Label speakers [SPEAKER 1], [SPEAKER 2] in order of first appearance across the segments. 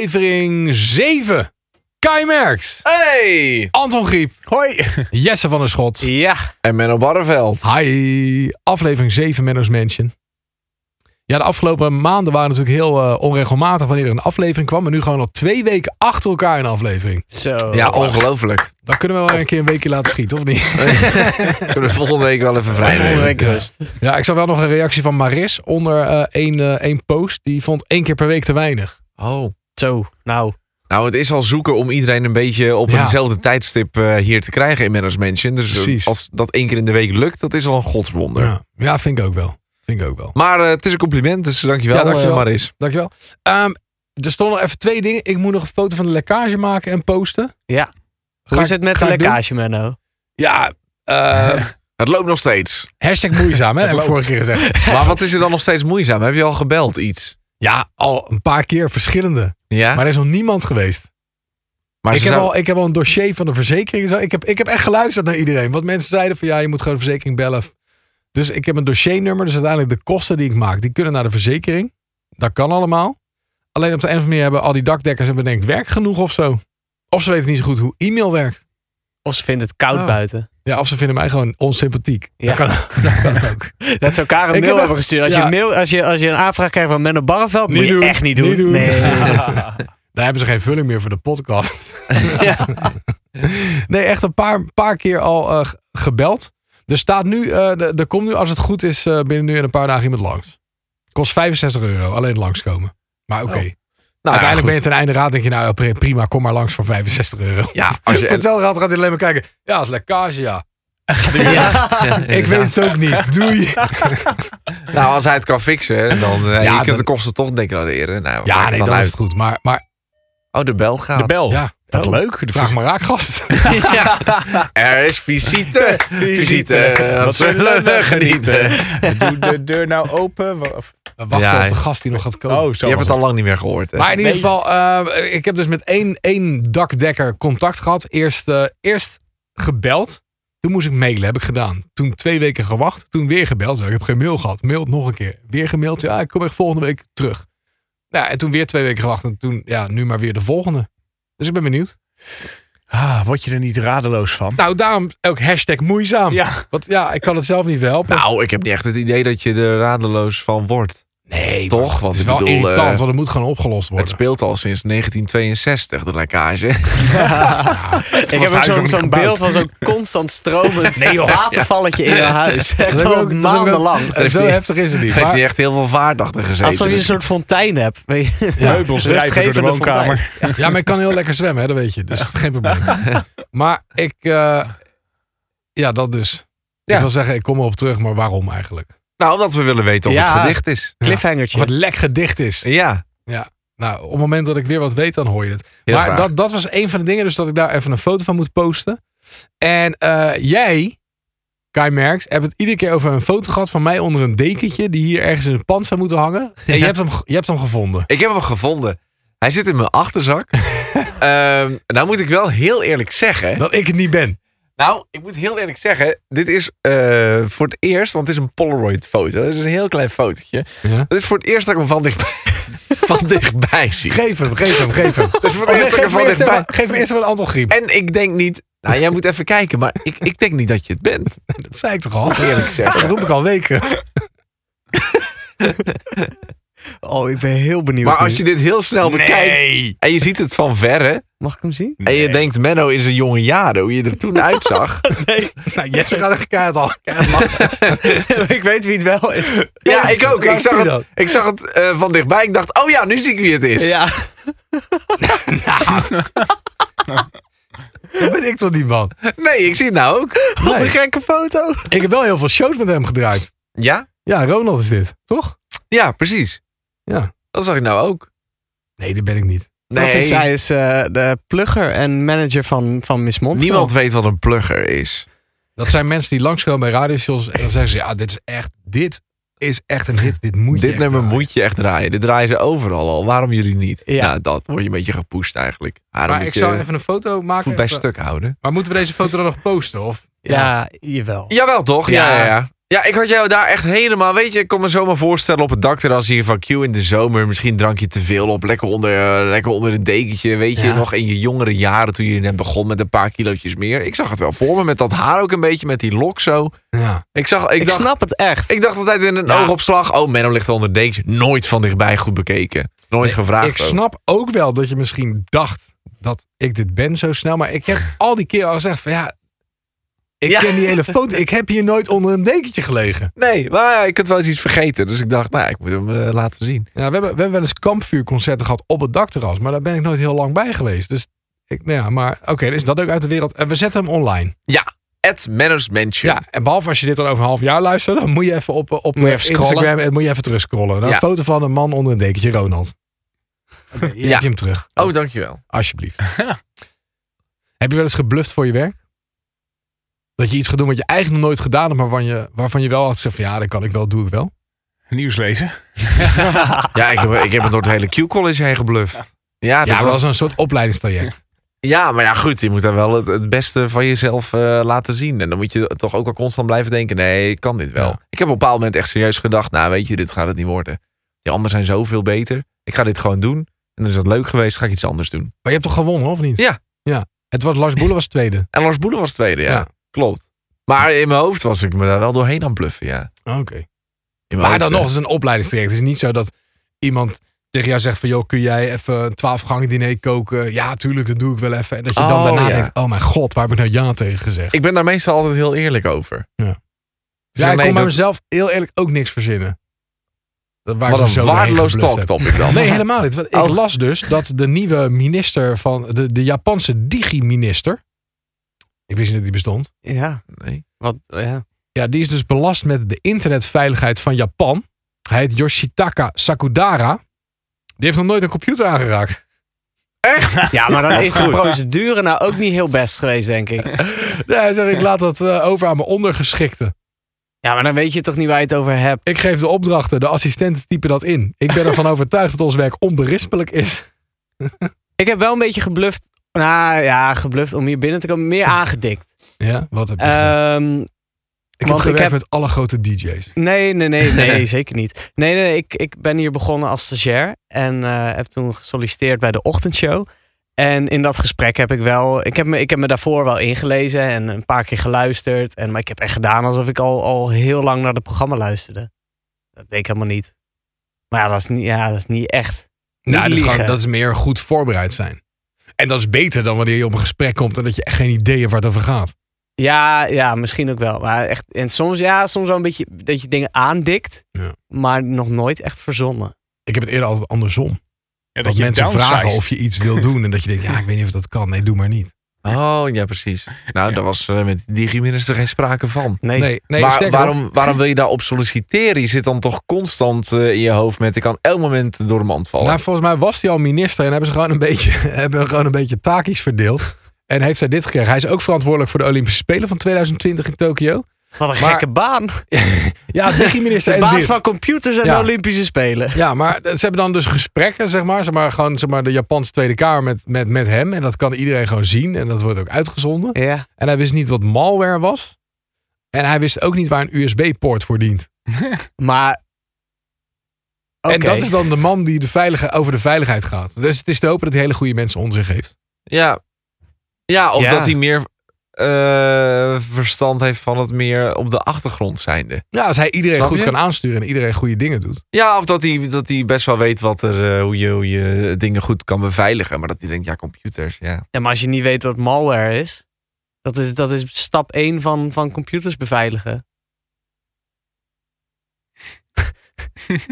[SPEAKER 1] aflevering 7. Kai Merks,
[SPEAKER 2] Hey!
[SPEAKER 1] Anton Griep,
[SPEAKER 2] Hoi!
[SPEAKER 1] Jesse van der Schot.
[SPEAKER 2] Ja. En Menno Barreveld.
[SPEAKER 1] Hi, aflevering 7 Menno's Mansion. Ja, de afgelopen maanden waren natuurlijk heel eh, onregelmatig wanneer er een aflevering kwam. Maar nu gewoon al twee weken achter elkaar een aflevering.
[SPEAKER 3] Zo.
[SPEAKER 2] Ja, ongelooflijk.
[SPEAKER 1] Dan kunnen we wel een keer een weekje laten schieten, of niet?
[SPEAKER 2] Kunnen we volgende week wel even vrij nemen.
[SPEAKER 3] Onrijk rust.
[SPEAKER 1] Ja, ik zag wel nog een reactie van Maris onder eh één, eh, één post. Die vond één keer per week te weinig.
[SPEAKER 2] Oh.
[SPEAKER 3] Zo, nou.
[SPEAKER 2] Nou, het is al zoeken om iedereen een beetje op
[SPEAKER 1] Ja.
[SPEAKER 2] eenzelfde tijdstip eh, hier te krijgen in Menno's Mansion. Dus eh,
[SPEAKER 1] Precies.
[SPEAKER 2] als dat één keer in de week lukt, dat is al een godswonder.
[SPEAKER 1] Ja, ja vind ik ook wel. Vind ik ook wel.
[SPEAKER 2] Maar eh, het is een compliment, dus dankjewel,
[SPEAKER 1] Ja,
[SPEAKER 2] ja,
[SPEAKER 1] dankjewel.
[SPEAKER 2] dankjewel. Maris.
[SPEAKER 1] Dankjewel. Ehm er stonden nog even twee dingen. Ik moet nog een foto van de lekkage maken en posten.
[SPEAKER 3] Ja. Hoe
[SPEAKER 1] Ga
[SPEAKER 3] is
[SPEAKER 1] ik-
[SPEAKER 3] het met
[SPEAKER 1] ga
[SPEAKER 3] de
[SPEAKER 1] ik doen?
[SPEAKER 3] lekkage, Menno?
[SPEAKER 1] Ja, eh,
[SPEAKER 2] Het loopt nog steeds.
[SPEAKER 1] hashtag moeizaam, hè, heb ik
[SPEAKER 2] loopt.
[SPEAKER 1] vorige keer gezegd.
[SPEAKER 2] maar wat is er dan nog steeds moeizaam? Heb je al gebeld iets?
[SPEAKER 1] Ja, al een paar keer verschillende.
[SPEAKER 2] Ja?
[SPEAKER 1] Maar er is nog niemand geweest.
[SPEAKER 2] Maar
[SPEAKER 1] ik,
[SPEAKER 2] ze
[SPEAKER 1] heb
[SPEAKER 2] zou-
[SPEAKER 1] al, ik heb al een dossier van de verzekering. en zo. Ik heb, ik heb echt geluisterd naar iedereen. Want mensen zeiden van ja, je moet gewoon de verzekering bellen. Dus ik heb een dossiernummer. Dus uiteindelijk de kosten die ik maak, die kunnen naar de verzekering. Dat kan allemaal. Alleen op de een of andere manier hebben al die dakdekkers en bedenkt werk genoeg of zo. Of ze weten niet zo goed hoe e-mail werkt.
[SPEAKER 3] Of ze vindt het koud
[SPEAKER 2] Oh.
[SPEAKER 3] buiten.
[SPEAKER 1] Ja, of ze vinden mij gewoon onsympathiek.
[SPEAKER 3] Ja.
[SPEAKER 1] Dat, kan, dat kan ook.
[SPEAKER 3] Dat ze elkaar een
[SPEAKER 1] Ik heb
[SPEAKER 3] mail
[SPEAKER 1] echt-
[SPEAKER 3] hebben gestuurd. Als,
[SPEAKER 1] ja.
[SPEAKER 3] je een mail, als, je, als je een aanvraag krijgt van Menno Barreveld,
[SPEAKER 1] Niet
[SPEAKER 3] moet je
[SPEAKER 1] doen.
[SPEAKER 3] echt niet doen.
[SPEAKER 1] Niet doen.
[SPEAKER 3] Nee.
[SPEAKER 1] Daar hebben ze geen vulling meer voor de podcast. Nee, echt een paar, paar keer al eh, g- gebeld. Er staat nu, eh, de- er komt nu als het goed is eh, binnen nu en een paar dagen iemand langs. Kost 65 euro, alleen langskomen. Maar oké.
[SPEAKER 2] Nou,
[SPEAKER 1] Uiteindelijk ben
[SPEAKER 2] ja,
[SPEAKER 1] je
[SPEAKER 2] goed.
[SPEAKER 1] ten einde raad, denk je nou ja, pri- prima, kom maar langs voor 65 euro.
[SPEAKER 2] Ja, als je...
[SPEAKER 1] Vertel gaat, gaat hij alleen maar kijken. Ja, dat is lekkage, ja. Ik
[SPEAKER 2] Ja.
[SPEAKER 1] weet het ook niet. Doei.
[SPEAKER 2] Nou, als hij het kan fixen, dan eh,
[SPEAKER 1] Ja,
[SPEAKER 2] je kunt
[SPEAKER 1] dan-
[SPEAKER 2] de kosten toch declareren. Nou, maak
[SPEAKER 1] Ja,
[SPEAKER 2] het
[SPEAKER 1] nee,
[SPEAKER 2] dan
[SPEAKER 1] dan is
[SPEAKER 2] uit.
[SPEAKER 1] het goed. Maar, maar
[SPEAKER 2] Oh, de bel gaat.
[SPEAKER 3] bel.
[SPEAKER 1] ja,
[SPEAKER 3] Dat
[SPEAKER 1] Oh.
[SPEAKER 3] leuk. De
[SPEAKER 1] vraag maar raak, gast.
[SPEAKER 2] Ja. Er is visite. Visite. Wat zullen we genieten?
[SPEAKER 4] Doe de deur nou open? Wa- of-
[SPEAKER 1] We wachten
[SPEAKER 2] Ja.
[SPEAKER 1] op de gast die nog gaat komen.
[SPEAKER 4] Oh,
[SPEAKER 2] Je
[SPEAKER 4] zo.
[SPEAKER 2] hebt
[SPEAKER 4] was
[SPEAKER 2] het al lang niet meer gehoord. Hè?
[SPEAKER 1] Maar in ieder
[SPEAKER 4] Nee.
[SPEAKER 1] geval, eh, ik heb dus met één, één dakdekker contact gehad. Eerst, eh, eerst gebeld. Toen moest ik mailen, heb ik gedaan. Toen twee weken gewacht. Toen weer gebeld. Ik heb geen mail gehad. Mailt nog een keer. Weer gemaild. Ja, ik kom echt volgende week terug. Ja, en toen weer twee weken gewacht. En toen, ja, nu maar weer de volgende. Dus ik ben benieuwd.
[SPEAKER 4] Ah, word je er niet radeloos van?
[SPEAKER 1] Nou, daarom ook hashtag moeizaam.
[SPEAKER 4] Ja.
[SPEAKER 1] Want ja, ik kan het zelf niet verhelpen.
[SPEAKER 2] Nou, ik heb niet echt het idee dat je er radeloos van wordt.
[SPEAKER 1] nee,
[SPEAKER 2] toch?
[SPEAKER 1] maar Het
[SPEAKER 2] Want
[SPEAKER 1] is
[SPEAKER 2] ik
[SPEAKER 1] wel
[SPEAKER 2] bedoel,
[SPEAKER 1] irritant,
[SPEAKER 2] eh,
[SPEAKER 1] want het moet gewoon opgelost
[SPEAKER 2] Het
[SPEAKER 1] worden.
[SPEAKER 2] speelt al sinds 1962, de lekkage.
[SPEAKER 1] Ja.
[SPEAKER 3] Ik heb ook
[SPEAKER 4] huis
[SPEAKER 3] zo'n
[SPEAKER 4] nog
[SPEAKER 3] zo'n
[SPEAKER 4] niet
[SPEAKER 3] beeld
[SPEAKER 4] gebouwd.
[SPEAKER 3] van zo'n constant stromend watervalletje in je huis. Echt
[SPEAKER 1] heb ik ook-
[SPEAKER 3] al
[SPEAKER 1] dat heb ik ook-
[SPEAKER 3] maandenlang.
[SPEAKER 2] heeft
[SPEAKER 1] Zo
[SPEAKER 2] hij-
[SPEAKER 1] heftig is het niet.
[SPEAKER 2] Heeft
[SPEAKER 1] maar-
[SPEAKER 2] hij echt heel veel vaart achter gezeten.
[SPEAKER 3] Alsof je een
[SPEAKER 2] Dus-
[SPEAKER 3] soort fontein hebt. weet je.
[SPEAKER 4] Meubels drijven door de
[SPEAKER 3] Rustgevende
[SPEAKER 4] woonkamer.
[SPEAKER 1] Ja, maar ik kan heel lekker zwemmen, hè, dat weet je. Dus geen probleem. Maar ik... eh, ja, dat dus.
[SPEAKER 2] Ja.
[SPEAKER 1] Ik wil zeggen, ik kom erop terug, maar waarom eigenlijk?
[SPEAKER 2] Nou, omdat we willen weten of
[SPEAKER 3] Ja.
[SPEAKER 2] het gedicht is.
[SPEAKER 1] Of
[SPEAKER 3] Cliffhangertje.
[SPEAKER 1] het lek gedicht is.
[SPEAKER 2] Ja,
[SPEAKER 1] Nou, op het moment dat ik weer wat weet, dan hoor je het.
[SPEAKER 2] heel
[SPEAKER 1] maar
[SPEAKER 2] graag.
[SPEAKER 1] dat, dat was een van de dingen, dus dat ik daar even een foto van moet posten. En eh, jij, Kai Merks, hebt het iedere keer over een foto gehad van mij onder een dekentje. die hier ergens in een pand zou moeten hangen. En je,
[SPEAKER 2] Ja.
[SPEAKER 1] hebt hem, ge- je hebt hem gevonden.
[SPEAKER 2] Ik heb hem gevonden. Hij zit in mijn achterzak. Ehm nou moet ik wel heel eerlijk zeggen.
[SPEAKER 1] Dat ik het niet ben.
[SPEAKER 2] Nou, ik moet heel eerlijk zeggen, dit is eh, voor het eerst, want het is een Polaroid foto. Dat is een heel klein fotootje.
[SPEAKER 1] Ja.
[SPEAKER 2] Het is voor het eerst dat ik hem van dichtbij, van dichtbij zie.
[SPEAKER 1] Geef hem, geef hem, geef hem.
[SPEAKER 2] Dat is voor
[SPEAKER 1] Oh,
[SPEAKER 2] het
[SPEAKER 1] nee,
[SPEAKER 2] eerst dat ik
[SPEAKER 1] geef, me
[SPEAKER 2] hem van
[SPEAKER 1] eerst
[SPEAKER 2] dichtbij...
[SPEAKER 1] even, geef me eerst even een aantal griep.
[SPEAKER 2] En ik denk niet... Nou, jij moet even kijken, maar ik, ik denk niet dat je het bent,
[SPEAKER 1] Dat zei ik toch al?
[SPEAKER 2] eerlijk
[SPEAKER 1] Dat
[SPEAKER 2] gezegd.
[SPEAKER 1] roep ik al weken.
[SPEAKER 3] Oh, ik ben heel benieuwd.
[SPEAKER 2] Maar als
[SPEAKER 3] nu.
[SPEAKER 2] je dit heel snel bekijkt en je ziet het van verre...
[SPEAKER 3] Mag ik hem zien?
[SPEAKER 2] en je denkt, Menno is een jonge jaren, hoe je er toen uitzag...
[SPEAKER 1] Nou, Jesse gaat echt keihard al.
[SPEAKER 3] ik weet wie het wel is.
[SPEAKER 2] ja, ik ook. Ik
[SPEAKER 1] Laat
[SPEAKER 2] zag
[SPEAKER 1] zien
[SPEAKER 2] het,
[SPEAKER 1] dan.
[SPEAKER 2] ik zag het eh, van dichtbij. Ik dacht, oh ja, nu zie ik wie het is.
[SPEAKER 3] Ja.
[SPEAKER 1] Dat ben ik toch niet, man.
[SPEAKER 2] Nee, ik zie het nou ook.
[SPEAKER 3] Wat
[SPEAKER 1] Nee.
[SPEAKER 3] een gekke foto.
[SPEAKER 1] Ik heb wel heel veel shows met hem gedraaid.
[SPEAKER 2] Ja?
[SPEAKER 1] Ja, Ronald is dit, toch?
[SPEAKER 2] Ja, precies.
[SPEAKER 1] Ja.
[SPEAKER 2] Dat zag ik nou ook.
[SPEAKER 1] Nee, dat ben ik niet.
[SPEAKER 2] Nee,
[SPEAKER 3] Wat is, zij is eh, de plugger en manager van, van Miss Mond.
[SPEAKER 2] niemand weet wat een plugger is.
[SPEAKER 1] Dat zijn mensen die langskomen bij radiostations en dan zeggen ze, ja, dit is echt, dit is echt een hit. Dit moet je
[SPEAKER 2] Dit
[SPEAKER 1] echt
[SPEAKER 2] nummer
[SPEAKER 1] draaien.
[SPEAKER 2] moet je echt draaien. Dit draaien ze overal al. Waarom jullie niet?
[SPEAKER 3] Ja.
[SPEAKER 2] Nou, dat word je een beetje gepoest eigenlijk. Waarom
[SPEAKER 1] Maar
[SPEAKER 2] moet
[SPEAKER 1] ik
[SPEAKER 2] je
[SPEAKER 1] zou even een foto maken.
[SPEAKER 2] voet bij
[SPEAKER 1] Even-
[SPEAKER 2] stuk houden?
[SPEAKER 1] Maar moeten we deze foto dan nog posten? Of?
[SPEAKER 3] Ja, jawel.
[SPEAKER 2] Jawel toch? Ja,
[SPEAKER 3] Ja.
[SPEAKER 2] ja, ja. Ja, ik had jou daar echt helemaal. Weet je, ik kon me zomaar voorstellen op het dakterras hier van Q in de zomer. Misschien drank je te veel op. Lekker onder, eh, lekker onder een dekentje. Weet je,
[SPEAKER 1] Ja.
[SPEAKER 2] nog in je jongere jaren toen je net begon met een paar kilootjes meer. Ik zag het wel voor me met dat haar ook een beetje, met die lok zo.
[SPEAKER 1] Ja.
[SPEAKER 2] Ik, zag, ik,
[SPEAKER 3] Ik
[SPEAKER 2] dacht,
[SPEAKER 3] snap het echt.
[SPEAKER 2] ik dacht altijd in een
[SPEAKER 1] Ja.
[SPEAKER 2] oogopslag. Oh, Menno ligt onder een dekentje. Nooit van dichtbij goed bekeken. Nooit gevraagd.
[SPEAKER 1] Ik
[SPEAKER 2] ook.
[SPEAKER 1] snap ook wel dat je misschien dacht dat ik dit ben zo snel. Maar ik heb al die keer al gezegd van ja, ik
[SPEAKER 2] Ja.
[SPEAKER 1] ken die hele foto. Ik heb hier nooit onder een dekentje gelegen.
[SPEAKER 2] Nee, maar ja, ik had wel eens iets vergeten. Dus ik dacht, nou, ik moet hem eh, laten zien.
[SPEAKER 1] Ja, we, hebben, we hebben wel eens kampvuurconcerten gehad op het dakterras. Maar daar ben ik nooit heel lang bij geweest. Dus ik, nou ja, maar oké, dus dat ook uit de wereld. En we zetten hem online.
[SPEAKER 2] At Menno's Mansion.
[SPEAKER 1] Ja, en behalve als je dit dan over een half jaar luistert, dan moet je even op, op
[SPEAKER 3] Moet je
[SPEAKER 1] eh,
[SPEAKER 3] even scrollen.
[SPEAKER 1] Instagram en moet je even terugscrollen. Dan
[SPEAKER 2] Ja.
[SPEAKER 1] Een foto van een man onder een dekentje, Ronald. ja.
[SPEAKER 2] Ja.
[SPEAKER 1] Heb je hem terug,
[SPEAKER 2] Oh, dankjewel.
[SPEAKER 1] alsjeblieft. heb je wel eens gebluft voor je werk? Dat je iets gaat doen wat je eigenlijk nog nooit gedaan hebt, maar waarvan je, waarvan je wel had gezegd van ja, dat kan ik wel, doe ik wel.
[SPEAKER 4] Nieuws lezen.
[SPEAKER 2] Ja, ik heb, ik heb het door het hele Q-college heen gebluft. Ja, dat
[SPEAKER 1] ja, dat
[SPEAKER 2] was
[SPEAKER 1] was een soort opleidingstraject.
[SPEAKER 2] Ja, maar ja, goed. Je moet daar wel het, het beste van jezelf eh, laten zien. En dan moet je toch ook wel constant blijven denken: nee, ik kan dit wel.
[SPEAKER 1] Ja.
[SPEAKER 2] Ik heb op een bepaald moment echt serieus gedacht: nou, weet je, dit gaat het niet worden. Die anderen zijn zoveel beter. Ik ga dit gewoon doen. En dan is dat leuk geweest, ga ik iets anders doen.
[SPEAKER 1] Maar je hebt toch gewonnen, of niet?
[SPEAKER 2] Ja.
[SPEAKER 1] ja. Het was Lars Boelen was tweede.
[SPEAKER 2] En Lars Boelen was tweede, ja.
[SPEAKER 1] Ja.
[SPEAKER 2] Klopt. Maar in mijn hoofd was ik me daar wel doorheen aan het bluffen, ja. In
[SPEAKER 1] Oké.
[SPEAKER 2] mijn
[SPEAKER 1] Maar
[SPEAKER 2] hoofd,
[SPEAKER 1] dan
[SPEAKER 2] eh,
[SPEAKER 1] nog eens een opleidingstraject. Het is niet zo dat iemand tegen jou zegt van... joh, kun jij even een twaalfgangen diner koken? Ja, tuurlijk, dat doe ik wel even. En dat je dan
[SPEAKER 2] Oh,
[SPEAKER 1] daarna
[SPEAKER 2] ja.
[SPEAKER 1] denkt... oh mijn god, waar heb ik nou ja tegen gezegd?
[SPEAKER 2] Ik ben daar meestal altijd heel eerlijk over.
[SPEAKER 1] Ja.
[SPEAKER 2] Dus
[SPEAKER 1] ja, ik
[SPEAKER 2] nee,
[SPEAKER 1] kon bij
[SPEAKER 2] dat-
[SPEAKER 1] mezelf heel eerlijk ook niks verzinnen. Dat waar ik me
[SPEAKER 2] Wat
[SPEAKER 1] zo
[SPEAKER 2] een
[SPEAKER 1] doorheen
[SPEAKER 2] waardeloos
[SPEAKER 1] geblust heb.
[SPEAKER 2] talktopic dan.
[SPEAKER 1] Nee, helemaal niet. Want ik
[SPEAKER 2] Oh.
[SPEAKER 1] las dus dat de nieuwe minister van... de, de Japanse digi-minister... ik wist niet dat die bestond...
[SPEAKER 3] Ja,
[SPEAKER 2] Nee.
[SPEAKER 3] wat, ja.
[SPEAKER 1] Ja, die is dus belast met de internetveiligheid van Japan. Hij heet Yoshitaka Sakudara. Die heeft nog nooit een computer aangeraakt.
[SPEAKER 3] ja, maar dan
[SPEAKER 2] Wat
[SPEAKER 3] is de
[SPEAKER 2] goed.
[SPEAKER 3] procedure nou ook niet heel best geweest, denk ik.
[SPEAKER 1] Nee, hij zegt, ik laat dat eh, over aan mijn ondergeschikte.
[SPEAKER 3] Ja, maar dan weet je toch niet waar je het over hebt.
[SPEAKER 1] Ik geef de opdrachten, de assistenten typen dat in. Ik ben ervan overtuigd dat ons werk onberispelijk is.
[SPEAKER 3] Ik heb wel een beetje gebluft. Nou ja, gebluft om hier binnen te komen. Meer aangedikt.
[SPEAKER 1] Ja, wat heb je gezegd?
[SPEAKER 3] Ehm,
[SPEAKER 1] Ik heb
[SPEAKER 3] want ik
[SPEAKER 1] gewerkt
[SPEAKER 3] heb-
[SPEAKER 1] met alle grote DJ's.
[SPEAKER 3] nee, nee, nee, nee, zeker niet. Nee, nee, nee, ik, ik ben hier begonnen als stagiair. En eh, heb toen gesolliciteerd bij de ochtendshow. En in dat gesprek heb ik wel... Ik heb me, ik heb me daarvoor wel ingelezen en een paar keer geluisterd. En, maar ik heb echt gedaan alsof ik al, al heel lang naar het programma luisterde. Dat deed ik helemaal niet. Maar ja, dat is niet, ja, dat is niet echt... Niet
[SPEAKER 1] Nou, dat is, gewoon,
[SPEAKER 3] liegen.
[SPEAKER 1] dat is meer goed voorbereid zijn. En dat is beter dan wanneer je op een gesprek komt en dat je echt geen idee hebt waar het over gaat.
[SPEAKER 3] Ja, ja, misschien ook wel. Maar echt, en soms, ja, soms wel een beetje dat je dingen aandikt,
[SPEAKER 1] Ja.
[SPEAKER 3] maar nog nooit echt verzonnen.
[SPEAKER 1] Ik heb het eerder altijd andersom.
[SPEAKER 4] Ja,
[SPEAKER 1] Dat, mensen
[SPEAKER 4] downsized.
[SPEAKER 1] vragen of je iets wil doen en dat je denkt, ja, ik weet niet of dat kan. Nee, doe maar niet.
[SPEAKER 2] Oh, ja, precies. Nou, daar was eh, met die digi-minister geen sprake van.
[SPEAKER 3] Nee.
[SPEAKER 1] Nee, nee
[SPEAKER 2] Waar-
[SPEAKER 1] sterker nog,
[SPEAKER 2] waarom, waarom wil je daarop solliciteren? Je zit dan toch constant eh, in je hoofd met... ik kan elk moment door de mand vallen.
[SPEAKER 1] nou, volgens mij was hij al minister en hebben ze gewoon een beetje, hebben gewoon een beetje taakjes verdeeld. En heeft hij dit gekregen. Hij is ook verantwoordelijk voor de Olympische Spelen van 2020 in Tokio.
[SPEAKER 3] Wat een
[SPEAKER 1] Maar-
[SPEAKER 3] gekke baan.
[SPEAKER 1] Ja, digi-minister
[SPEAKER 3] De
[SPEAKER 1] en
[SPEAKER 3] baas
[SPEAKER 1] dit.
[SPEAKER 3] van computers en
[SPEAKER 1] Ja.
[SPEAKER 3] de Olympische Spelen.
[SPEAKER 1] Ja, maar ze hebben dan dus gesprekken, zeg maar. Zeg maar gewoon zeg maar, de Japanse Tweede Kamer met, met, met hem. En dat kan iedereen gewoon zien. En dat wordt ook uitgezonden.
[SPEAKER 3] Ja.
[SPEAKER 1] En hij wist niet wat malware was. En hij wist ook niet waar een USB-poort voor dient.
[SPEAKER 3] Maar. Oké.
[SPEAKER 1] En dat is dan de man die de veilige, over de veiligheid gaat. Dus het is te hopen dat hij hele goede mensen onder zich heeft.
[SPEAKER 2] ja. ja, of
[SPEAKER 3] Ja.
[SPEAKER 2] dat hij meer eh, verstand heeft van het meer op de achtergrond zijnde.
[SPEAKER 1] Ja, als hij iedereen
[SPEAKER 2] Snap
[SPEAKER 1] goed
[SPEAKER 2] je?
[SPEAKER 1] kan aansturen en iedereen goede dingen doet.
[SPEAKER 2] Ja, of dat hij, dat hij best wel weet wat er, eh, hoe, je, hoe je dingen goed kan beveiligen. Maar dat hij denkt, ja, computers, ja.
[SPEAKER 3] Ja, maar als je niet weet wat malware is, dat is, dat is stap 1 van, van computers beveiligen.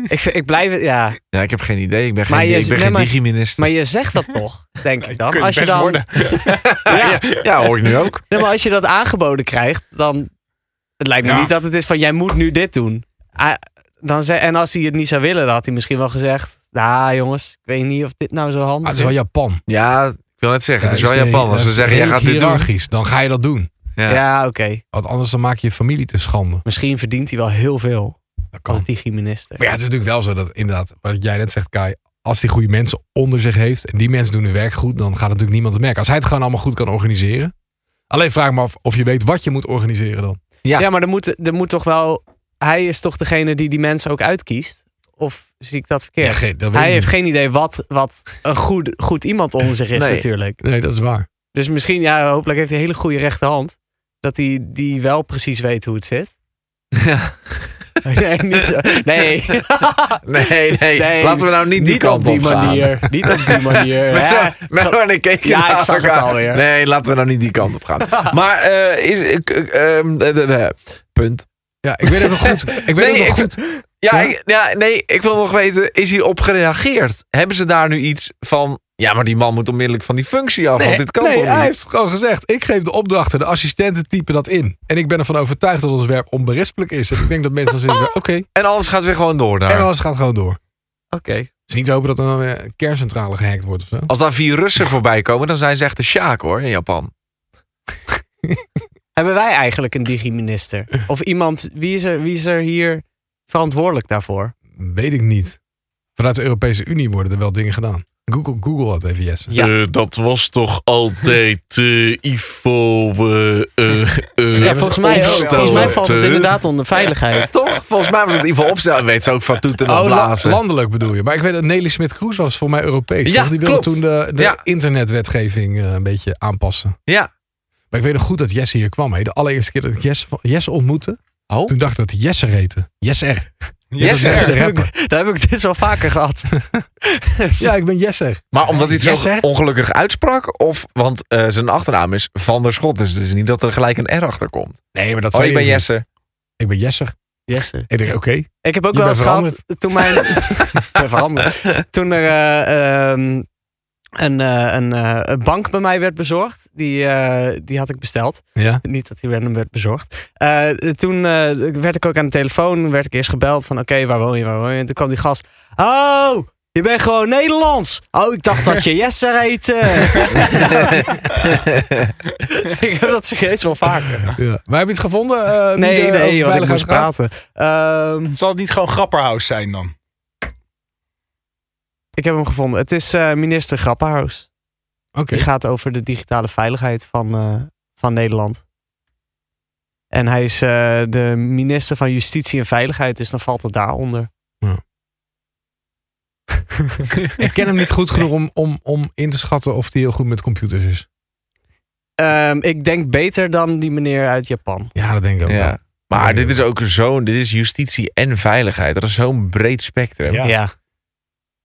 [SPEAKER 3] ik, vind- ik blijf het, ja.
[SPEAKER 2] Ja, ik heb geen idee. Ik ben
[SPEAKER 3] Maar
[SPEAKER 2] geen,
[SPEAKER 3] je-
[SPEAKER 2] ik ben
[SPEAKER 3] nee,
[SPEAKER 2] geen
[SPEAKER 3] maar-
[SPEAKER 2] digi-minister.
[SPEAKER 3] Maar je zegt dat toch, denk ik dan.
[SPEAKER 4] Kunt
[SPEAKER 3] Als je
[SPEAKER 4] best
[SPEAKER 3] dan
[SPEAKER 4] worden.
[SPEAKER 2] ja, ja, hoor ik nu ook.
[SPEAKER 3] Nee, maar als je dat aangeboden krijgt, dan. Het lijkt me
[SPEAKER 4] Ja.
[SPEAKER 3] niet dat het is van jij moet nu dit doen. Ah, dan ze, en als hij het niet zou willen, dan had hij misschien wel gezegd. Nou jongens, ik weet niet of dit nou zo
[SPEAKER 1] Ah,
[SPEAKER 3] handig
[SPEAKER 1] het
[SPEAKER 3] is.
[SPEAKER 1] is wel Japan.
[SPEAKER 2] Ja, ik wil net zeggen, het is wel
[SPEAKER 1] de-
[SPEAKER 2] Japan. Als
[SPEAKER 1] het
[SPEAKER 2] ze
[SPEAKER 1] is
[SPEAKER 2] zeggen, jij gaat dit doen.
[SPEAKER 1] hiërarchisch, Dan ga je dat doen.
[SPEAKER 2] Ja.
[SPEAKER 3] ja, oké.
[SPEAKER 1] Want anders dan maak je je familie te schande.
[SPEAKER 3] Misschien verdient hij wel heel veel
[SPEAKER 1] Dat kan.
[SPEAKER 3] als digi-minister.
[SPEAKER 1] Maar ja, het is natuurlijk wel zo dat inderdaad, wat jij net zegt Kai. Als hij goede mensen onder zich heeft en die mensen doen hun werk goed. Dan gaat natuurlijk niemand het merken. Als hij het gewoon allemaal goed kan organiseren. Alleen vraag me af of je weet wat je moet organiseren dan.
[SPEAKER 2] Ja.
[SPEAKER 3] Ja, maar er moet, er moet toch wel... Hij is toch degene die die mensen ook uitkiest? Of zie ik dat verkeerd?
[SPEAKER 1] Ja, geen- dat weet
[SPEAKER 3] hij
[SPEAKER 1] ik
[SPEAKER 3] heeft
[SPEAKER 1] niet.
[SPEAKER 3] geen idee wat, wat een goed, goed iemand onder zich is
[SPEAKER 2] Nee.
[SPEAKER 3] natuurlijk.
[SPEAKER 1] Nee, dat is waar.
[SPEAKER 3] Dus misschien, ja, hopelijk heeft hij een hele goede rechterhand. Dat hij die wel precies weet hoe het zit.
[SPEAKER 2] Ja.
[SPEAKER 3] Nee, niet, nee,
[SPEAKER 2] Nee, nee,
[SPEAKER 3] Nee,
[SPEAKER 2] Laten we nou niet die
[SPEAKER 3] niet
[SPEAKER 2] kant
[SPEAKER 3] op die
[SPEAKER 2] gaan.
[SPEAKER 3] manier. Niet op die manier.
[SPEAKER 2] Ja,
[SPEAKER 3] Ja,
[SPEAKER 2] Menno en ik keken
[SPEAKER 3] Ja, ik
[SPEAKER 2] naar
[SPEAKER 3] zag het
[SPEAKER 2] elkaar.
[SPEAKER 3] alweer.
[SPEAKER 2] Nee, laten we nou niet die kant op gaan. maar, eh, is, ik- ik, ehm, de- de- de- punt.
[SPEAKER 1] Ja, ik weet het nog goed. Ik weet
[SPEAKER 2] Nee,
[SPEAKER 1] het nog
[SPEAKER 2] ik
[SPEAKER 1] goed.
[SPEAKER 2] Ja,
[SPEAKER 1] Ja?
[SPEAKER 2] Ik, ja, nee, ik wil nog weten, is hierop gereageerd? Hebben ze daar nu iets van, ja, maar die man moet onmiddellijk van die functie af, want
[SPEAKER 1] Nee,
[SPEAKER 2] dit kan
[SPEAKER 1] nee,
[SPEAKER 2] toch
[SPEAKER 1] hij
[SPEAKER 2] niet?
[SPEAKER 1] heeft gewoon gezegd. Ik geef de opdrachten, de assistenten typen dat in. En ik ben ervan overtuigd dat ons werk onberispelijk is. En ik denk dat mensen dan zitten, oké.
[SPEAKER 2] En alles gaat weer gewoon door daar.
[SPEAKER 1] En alles gaat gewoon door.
[SPEAKER 3] Oké.
[SPEAKER 1] Dus niet te hopen dat er dan weer een kerncentrale gehackt wordt of zo.
[SPEAKER 2] Als daar vier Russen voorbij komen, dan zijn ze echt de Sjaak hoor, in Japan.
[SPEAKER 3] Hebben wij eigenlijk een digiminister? Of iemand, wie is er, wie is er hier verantwoordelijk daarvoor?
[SPEAKER 1] Weet ik niet. Vanuit de Europese Unie worden er wel dingen gedaan. Google, Google had even yes.
[SPEAKER 3] Ja.
[SPEAKER 2] Eh, dat was toch altijd eh, Ivo...
[SPEAKER 3] Ja, volgens mij, ook.
[SPEAKER 1] opstel,
[SPEAKER 3] volgens mij valt het
[SPEAKER 2] eh.
[SPEAKER 3] inderdaad onder veiligheid.
[SPEAKER 2] Toch? Volgens mij was het Ivo Opstel. Weet ze ook van toeten en
[SPEAKER 1] Oh, la-
[SPEAKER 2] blazen.
[SPEAKER 1] landelijk bedoel je. Maar ik weet dat Nelly Smit-Kroes was voor mij Europees.
[SPEAKER 2] Ja,
[SPEAKER 1] toch? Die wilde
[SPEAKER 2] klopt.
[SPEAKER 1] toen de, de
[SPEAKER 2] Ja.
[SPEAKER 1] internetwetgeving eh, een beetje aanpassen.
[SPEAKER 2] Ja.
[SPEAKER 1] Maar ik weet nog goed dat Jesse hier kwam. Hè. De allereerste keer dat ik Jesse, Jesse ontmoette.
[SPEAKER 2] Oh.
[SPEAKER 1] Toen dacht ik dat hij Jesse heette. Jesser.
[SPEAKER 2] Yes,
[SPEAKER 1] dat is
[SPEAKER 2] sir.
[SPEAKER 1] echt-
[SPEAKER 3] Daar heb, ik, daar heb ik dit dus wel vaker gehad.
[SPEAKER 1] Ja, ik ben Jesser.
[SPEAKER 2] Maar omdat hij het
[SPEAKER 1] Yes,
[SPEAKER 2] zo
[SPEAKER 1] sir.
[SPEAKER 2] ongelukkig uitsprak? Of, want eh, zijn achternaam is Van der Schot. Dus het is niet dat er gelijk een R achter komt.
[SPEAKER 1] Nee, maar dat
[SPEAKER 2] Oh,
[SPEAKER 1] zei
[SPEAKER 2] ik ben
[SPEAKER 1] je niet.
[SPEAKER 2] Jesse.
[SPEAKER 1] Ik ben Jesser.
[SPEAKER 3] Jesse.
[SPEAKER 1] Ik denk, oké.
[SPEAKER 3] Ik heb ook
[SPEAKER 1] Je
[SPEAKER 3] wel
[SPEAKER 1] bent
[SPEAKER 3] eens gehad toen mijn. Ik ben veranderd. Toen er eh, ehm, een, eh, een, eh, een bank bij mij werd bezorgd. Die, eh, die had ik besteld.
[SPEAKER 1] Ja.
[SPEAKER 3] Niet dat die random werd bezorgd. Eh, toen eh, werd ik ook aan de telefoon. Werd ik eerst gebeld van oké, waar woon je, waar woon je? En toen kwam die gast. Oh, je bent gewoon Nederlands. Oh, ik dacht dat je Jesse heette. ik heb dat serieus wel vaker.
[SPEAKER 1] ja. Maar heb je het gevonden? eh, wie
[SPEAKER 3] Nee,
[SPEAKER 1] er over
[SPEAKER 3] nee, want ik
[SPEAKER 1] veiligheid
[SPEAKER 3] moest
[SPEAKER 1] gaat?
[SPEAKER 3] praten. Ehm,
[SPEAKER 4] Zal het niet gewoon Grapperhaus zijn dan?
[SPEAKER 3] ik heb hem gevonden. Het is eh, minister Grappenhuis.
[SPEAKER 1] Oké.
[SPEAKER 3] Die gaat over de digitale veiligheid van, eh, van Nederland. En hij is eh, de minister van Justitie en Veiligheid, dus dan valt het daaronder.
[SPEAKER 1] Ik ken hem niet goed genoeg om, om, om in te schatten of hij heel goed met computers is.
[SPEAKER 3] Ehm, ik denk beter dan die meneer uit Japan.
[SPEAKER 1] Ja, dat denk ik ook. wel.
[SPEAKER 2] Ja. Maar dit is ook zo'n... Dit is justitie en veiligheid. Dat is zo'n breed spectrum.
[SPEAKER 4] Ja.
[SPEAKER 3] ja.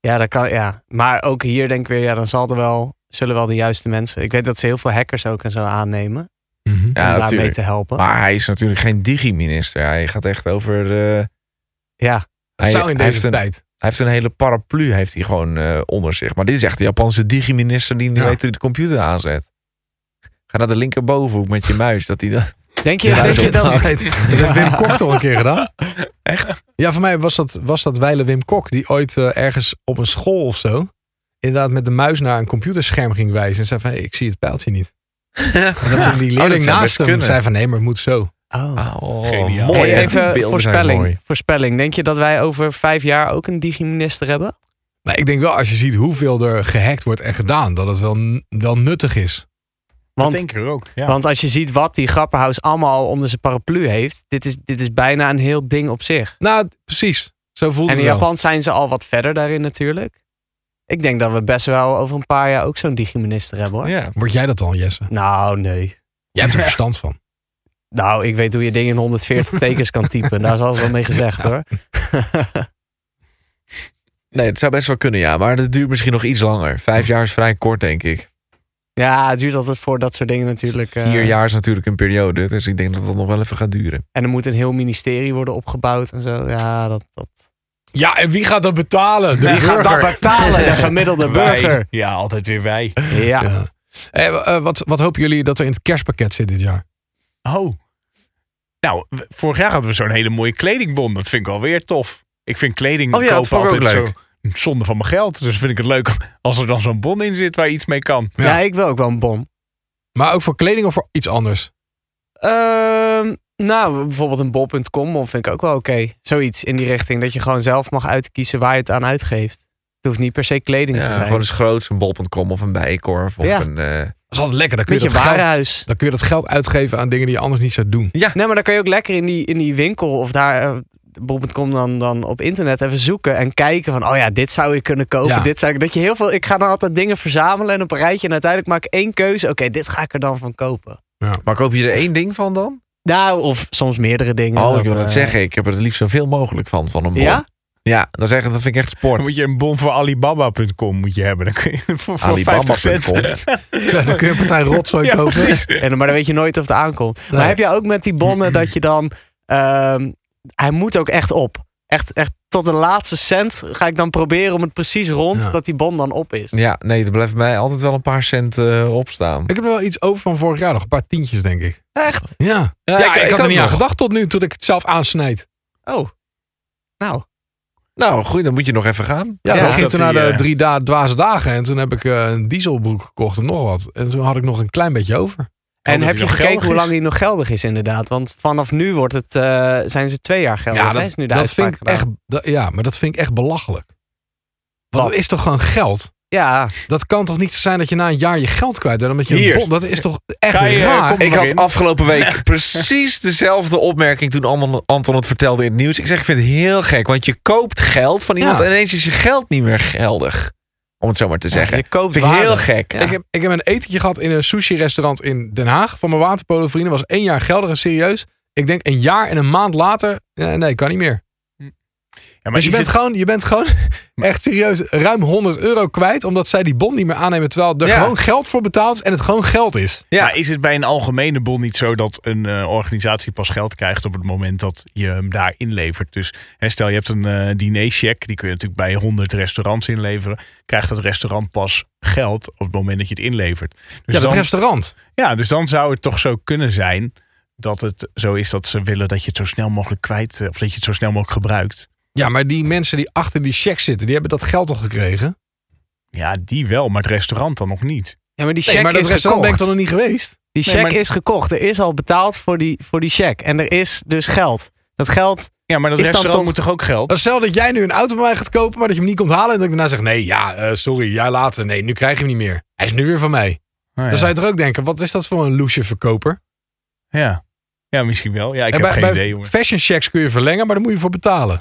[SPEAKER 3] Ja, dat kan, ja. Maar ook hier denk ik weer, ja, dan zal er wel, zullen wel de juiste mensen. Ik weet dat ze heel veel hackers ook en zo aannemen.
[SPEAKER 1] Mhm.
[SPEAKER 2] Ja,
[SPEAKER 3] om daarmee
[SPEAKER 2] natuurlijk.
[SPEAKER 3] te helpen.
[SPEAKER 2] Maar hij is natuurlijk geen digiminister. Hij gaat echt over... eh,
[SPEAKER 3] ja.
[SPEAKER 1] Dat
[SPEAKER 2] hij,
[SPEAKER 1] zou in
[SPEAKER 2] hij
[SPEAKER 1] deze
[SPEAKER 2] heeft een,
[SPEAKER 1] tijd.
[SPEAKER 2] hij heeft een hele paraplu heeft hij gewoon eh, onder zich. Maar dit is echt de Japanse digiminister die nu
[SPEAKER 1] Ja.
[SPEAKER 2] weet hoe hij de computer aanzet. Ga naar de linkerbovenhoek met je muis. Dat hij dan...
[SPEAKER 3] Denk je,
[SPEAKER 1] Ja,
[SPEAKER 3] denk je
[SPEAKER 1] dat,
[SPEAKER 3] dan...
[SPEAKER 1] dat heeft Wim Kok toch een keer gedaan. Echt? Ja, voor mij was dat, was dat wijle Wim Kok. Die ooit eh, ergens op een school of zo... inderdaad met de muis naar een computerscherm ging wijzen. En zei van, hey, ik zie het pijltje niet. En dat toen die
[SPEAKER 2] Oh, dat
[SPEAKER 1] leerling
[SPEAKER 2] zou best
[SPEAKER 1] naast hem
[SPEAKER 2] kunnen.
[SPEAKER 1] zei van... nee, maar het moet zo.
[SPEAKER 3] Oh.
[SPEAKER 2] Oh,
[SPEAKER 4] Geniaal.
[SPEAKER 2] mooi.
[SPEAKER 3] Hey,
[SPEAKER 2] hè? Die beelden
[SPEAKER 3] even
[SPEAKER 2] zijn mooi.
[SPEAKER 3] voorspelling, voorspelling. Denk je dat wij over vijf jaar ook een digiminister hebben?
[SPEAKER 1] Nou, ik denk wel, als je ziet hoeveel er gehackt wordt en gedaan... dat het wel, wel nuttig is.
[SPEAKER 4] Dat
[SPEAKER 3] Want,
[SPEAKER 4] denk ik ook. Ja.
[SPEAKER 3] want als je ziet wat die Grapperhaus allemaal onder zijn paraplu heeft, dit is, dit is bijna een heel ding op zich.
[SPEAKER 1] Nou, precies. Zo voelt
[SPEAKER 3] En
[SPEAKER 1] het
[SPEAKER 3] in
[SPEAKER 1] wel.
[SPEAKER 3] Japan zijn ze al wat verder daarin natuurlijk. Ik denk dat we best wel over een paar jaar ook zo'n digiminister hebben hoor.
[SPEAKER 2] Ja.
[SPEAKER 1] Word jij dat dan, Jesse?
[SPEAKER 3] Nou, nee.
[SPEAKER 1] Jij hebt er verstand van.
[SPEAKER 3] Nou, ik weet hoe je dingen in 140 tekens kan typen. Daar is alles wel mee gezegd hoor.
[SPEAKER 2] Nee, het zou best wel kunnen, ja. Maar dat duurt misschien nog iets langer. Vijf jaar is vrij kort, denk ik.
[SPEAKER 3] Ja, het duurt altijd voor dat soort dingen natuurlijk. eh,
[SPEAKER 2] Vier jaar is natuurlijk een periode. Dus ik denk dat dat nog wel even gaat duren.
[SPEAKER 3] En er moet een heel ministerie worden opgebouwd en zo. Ja, dat... dat...
[SPEAKER 1] Ja, en wie gaat dat betalen? De
[SPEAKER 3] Wie gaat dat
[SPEAKER 1] burger.
[SPEAKER 3] betalen? De gemiddelde
[SPEAKER 4] Wij.
[SPEAKER 3] burger.
[SPEAKER 4] Ja, altijd weer wij.
[SPEAKER 3] Ja.
[SPEAKER 1] Ja. Eh, w- eh, wat, wat hopen jullie dat er in het kerstpakket zit dit jaar?
[SPEAKER 4] Oh. Nou, w- vorig jaar hadden we zo'n hele mooie kledingbon. Dat vind ik alweer tof. Ik vind kleding
[SPEAKER 2] Oh ja, dat
[SPEAKER 4] kopen
[SPEAKER 2] vond ik ook
[SPEAKER 4] altijd zo zonde van mijn geld. Dus vind ik het leuk als er dan zo'n bon in zit waar je iets mee kan.
[SPEAKER 1] Ja.
[SPEAKER 3] Ja. ik wil ook wel een bon.
[SPEAKER 1] Maar ook voor kleding of voor iets anders?
[SPEAKER 3] Ehm, nou, bijvoorbeeld een bol.com vind ik ook wel oké. Zoiets in die richting dat je gewoon zelf mag uitkiezen waar je het aan uitgeeft. Het hoeft niet per se kleding te
[SPEAKER 2] Ja,
[SPEAKER 3] zijn.
[SPEAKER 2] gewoon eens groots, een bol.com of een bijenkorf. Of
[SPEAKER 3] Ja.
[SPEAKER 2] een, eh,
[SPEAKER 1] Dat is altijd lekker. Dan kun,
[SPEAKER 3] Met
[SPEAKER 1] je
[SPEAKER 3] je
[SPEAKER 1] dat geld,
[SPEAKER 3] warenhuis.
[SPEAKER 1] dan kun je dat geld uitgeven aan dingen die je anders niet zou doen.
[SPEAKER 3] Nee, maar dan kan je ook lekker in die, in die winkel of daar... eh, bol.com dan, dan op internet even zoeken en kijken van... oh ja, dit zou je kunnen kopen,
[SPEAKER 1] Ja.
[SPEAKER 3] dit zou ik... Dat je heel veel... Ik ga dan altijd dingen verzamelen en op een rijtje... en uiteindelijk maak ik één keuze. Oké, dit ga ik er dan van kopen.
[SPEAKER 2] maar koop je er één ding van dan?
[SPEAKER 3] Nou, of soms meerdere dingen.
[SPEAKER 2] oh,
[SPEAKER 3] Dat,
[SPEAKER 2] ik wil dat
[SPEAKER 3] eh,
[SPEAKER 2] zeggen. Ik heb er het liefst zoveel mogelijk van, van een bol.
[SPEAKER 3] Ja?
[SPEAKER 2] Ja, dan zeggen, dat vind ik echt
[SPEAKER 4] Dan
[SPEAKER 2] sport.
[SPEAKER 4] moet je een bon voor Alibaba.com moet je hebben. Dan kun je
[SPEAKER 2] Ah,
[SPEAKER 4] voor, voor 50 cent.
[SPEAKER 2] Alibaba.com.
[SPEAKER 1] Zo, dan kun je een partij rotzooi
[SPEAKER 4] Ja,
[SPEAKER 1] kopen.
[SPEAKER 4] precies.
[SPEAKER 3] En, dan- maar dan weet je nooit of het aankomt. Maar
[SPEAKER 1] Nee.
[SPEAKER 3] heb je ook met die bonnen dat je dan... ehm, hij moet ook echt op. Echt, echt tot de laatste cent ga ik dan proberen om het precies rond...
[SPEAKER 1] Ja.
[SPEAKER 3] dat die bon dan op is.
[SPEAKER 2] Ja, nee, er blijft mij altijd wel een paar cent eh, opstaan.
[SPEAKER 1] Ik heb er wel iets over van vorig jaar nog. Een paar tientjes, denk ik.
[SPEAKER 3] Echt?
[SPEAKER 1] Ja, ja, ik, ik had er niet aan gedacht tot nu, toen ik het zelf aansnijd.
[SPEAKER 3] Oh. Nou,
[SPEAKER 2] Nou, goed, dan moet je nog even gaan.
[SPEAKER 1] Ja,
[SPEAKER 3] Ja,
[SPEAKER 1] dan ging
[SPEAKER 4] dat
[SPEAKER 1] toen naar
[SPEAKER 4] die,
[SPEAKER 1] de
[SPEAKER 4] eh,
[SPEAKER 1] drie da- dwaze dagen. En toen heb ik eh, een dieselbroek gekocht en nog wat. En toen had ik nog een klein beetje over.
[SPEAKER 3] En heb
[SPEAKER 4] dat hij
[SPEAKER 3] je
[SPEAKER 4] nog
[SPEAKER 3] gekeken
[SPEAKER 4] geldig
[SPEAKER 3] hoe
[SPEAKER 4] is?
[SPEAKER 3] lang hij nog geldig is, inderdaad? Want vanaf nu wordt het, eh, zijn ze twee jaar geldig.
[SPEAKER 1] ja,
[SPEAKER 3] hè,
[SPEAKER 1] dat,
[SPEAKER 3] is nu de
[SPEAKER 1] dat
[SPEAKER 3] uitspraak
[SPEAKER 1] vind ik
[SPEAKER 3] gedaan.
[SPEAKER 1] echt, dat- ja, maar dat vind ik echt belachelijk. Want
[SPEAKER 3] Wat?
[SPEAKER 1] het is toch gewoon geld?
[SPEAKER 3] Ja,
[SPEAKER 1] Dat kan toch niet zo zijn dat je na een jaar je geld kwijt bent? Omdat je
[SPEAKER 4] Hier.
[SPEAKER 1] een bon, dat is toch echt
[SPEAKER 4] Ga je, eh,
[SPEAKER 1] raar?
[SPEAKER 4] kom-
[SPEAKER 2] Ik
[SPEAKER 4] nog
[SPEAKER 2] had
[SPEAKER 4] in.
[SPEAKER 2] afgelopen week precies dezelfde opmerking toen Anton- Anton het vertelde in het nieuws. Ik zeg, ik vind het heel gek, want je koopt geld van iemand
[SPEAKER 1] Ja.
[SPEAKER 2] en ineens is je geld niet meer geldig. Om het zo maar te zeggen.
[SPEAKER 3] je koopt
[SPEAKER 2] vind ik heel
[SPEAKER 3] waarde.
[SPEAKER 2] gek.
[SPEAKER 3] Ja.
[SPEAKER 1] Ik, heb, ik heb een etentje gehad in een sushi-restaurant in Den Haag. Van mijn waterpolenvrienden. Was één jaar geldig en serieus. Ik denk een jaar en een maand later. Nee, nee kan niet meer.
[SPEAKER 4] Ja, maar
[SPEAKER 1] Dus je
[SPEAKER 4] is
[SPEAKER 1] bent,
[SPEAKER 4] het-
[SPEAKER 1] gewoon, je bent gewoon echt serieus ruim 100 euro kwijt. Omdat zij die bon niet meer aannemen. Terwijl er
[SPEAKER 2] Ja.
[SPEAKER 1] gewoon geld voor betaald is. En het gewoon geld is.
[SPEAKER 2] Ja.
[SPEAKER 4] maar is het bij een algemene bon niet zo dat een eh, organisatie pas geld krijgt op het moment dat je hem daar inlevert? Dus hè, stel je hebt een eh dinercheck, die kun je natuurlijk bij 100 restaurants inleveren. Krijgt dat restaurant pas geld op het moment dat je het inlevert. Dus
[SPEAKER 1] ja, dat
[SPEAKER 4] dan,
[SPEAKER 1] restaurant.
[SPEAKER 4] ja, dus dan zou het toch zo kunnen zijn dat het zo is dat ze willen dat je het zo snel mogelijk kwijt, eh, of dat je het zo snel mogelijk gebruikt.
[SPEAKER 1] Ja, maar die mensen die achter die check zitten. Die hebben dat geld al gekregen.
[SPEAKER 4] Ja, die wel, maar het restaurant dan nog niet.
[SPEAKER 3] Ja, maar die check
[SPEAKER 1] Nee, maar dat
[SPEAKER 3] is
[SPEAKER 1] restaurant
[SPEAKER 3] gekocht.
[SPEAKER 1] ben ik dan nog niet geweest.
[SPEAKER 3] Die
[SPEAKER 4] Nee,
[SPEAKER 3] check
[SPEAKER 4] maar-
[SPEAKER 3] is gekocht. Er is al betaald voor die, voor die check. En er is dus geld. Dat geld,
[SPEAKER 4] Ja, maar dat
[SPEAKER 3] Is dan
[SPEAKER 4] restaurant
[SPEAKER 3] toch-
[SPEAKER 4] moet toch ook geld?
[SPEAKER 1] Dat is Stel dat jij nu een auto bij mij gaat kopen. Maar dat je hem niet komt halen. En dat ik daarna zeg. Nee, ja, eh, sorry. Jij later. Nee, nu krijg je hem niet meer. Hij is nu weer van mij.
[SPEAKER 4] Ah, ja.
[SPEAKER 1] Dan zou je toch ook denken. Wat is dat voor een loesje verkoper?
[SPEAKER 4] Ja. ja, misschien wel. Ja, ik
[SPEAKER 1] En
[SPEAKER 4] heb
[SPEAKER 1] bij,
[SPEAKER 4] geen
[SPEAKER 1] bij
[SPEAKER 4] idee, jongen.
[SPEAKER 1] fashion checks kun je verlengen. Maar daar moet je voor betalen.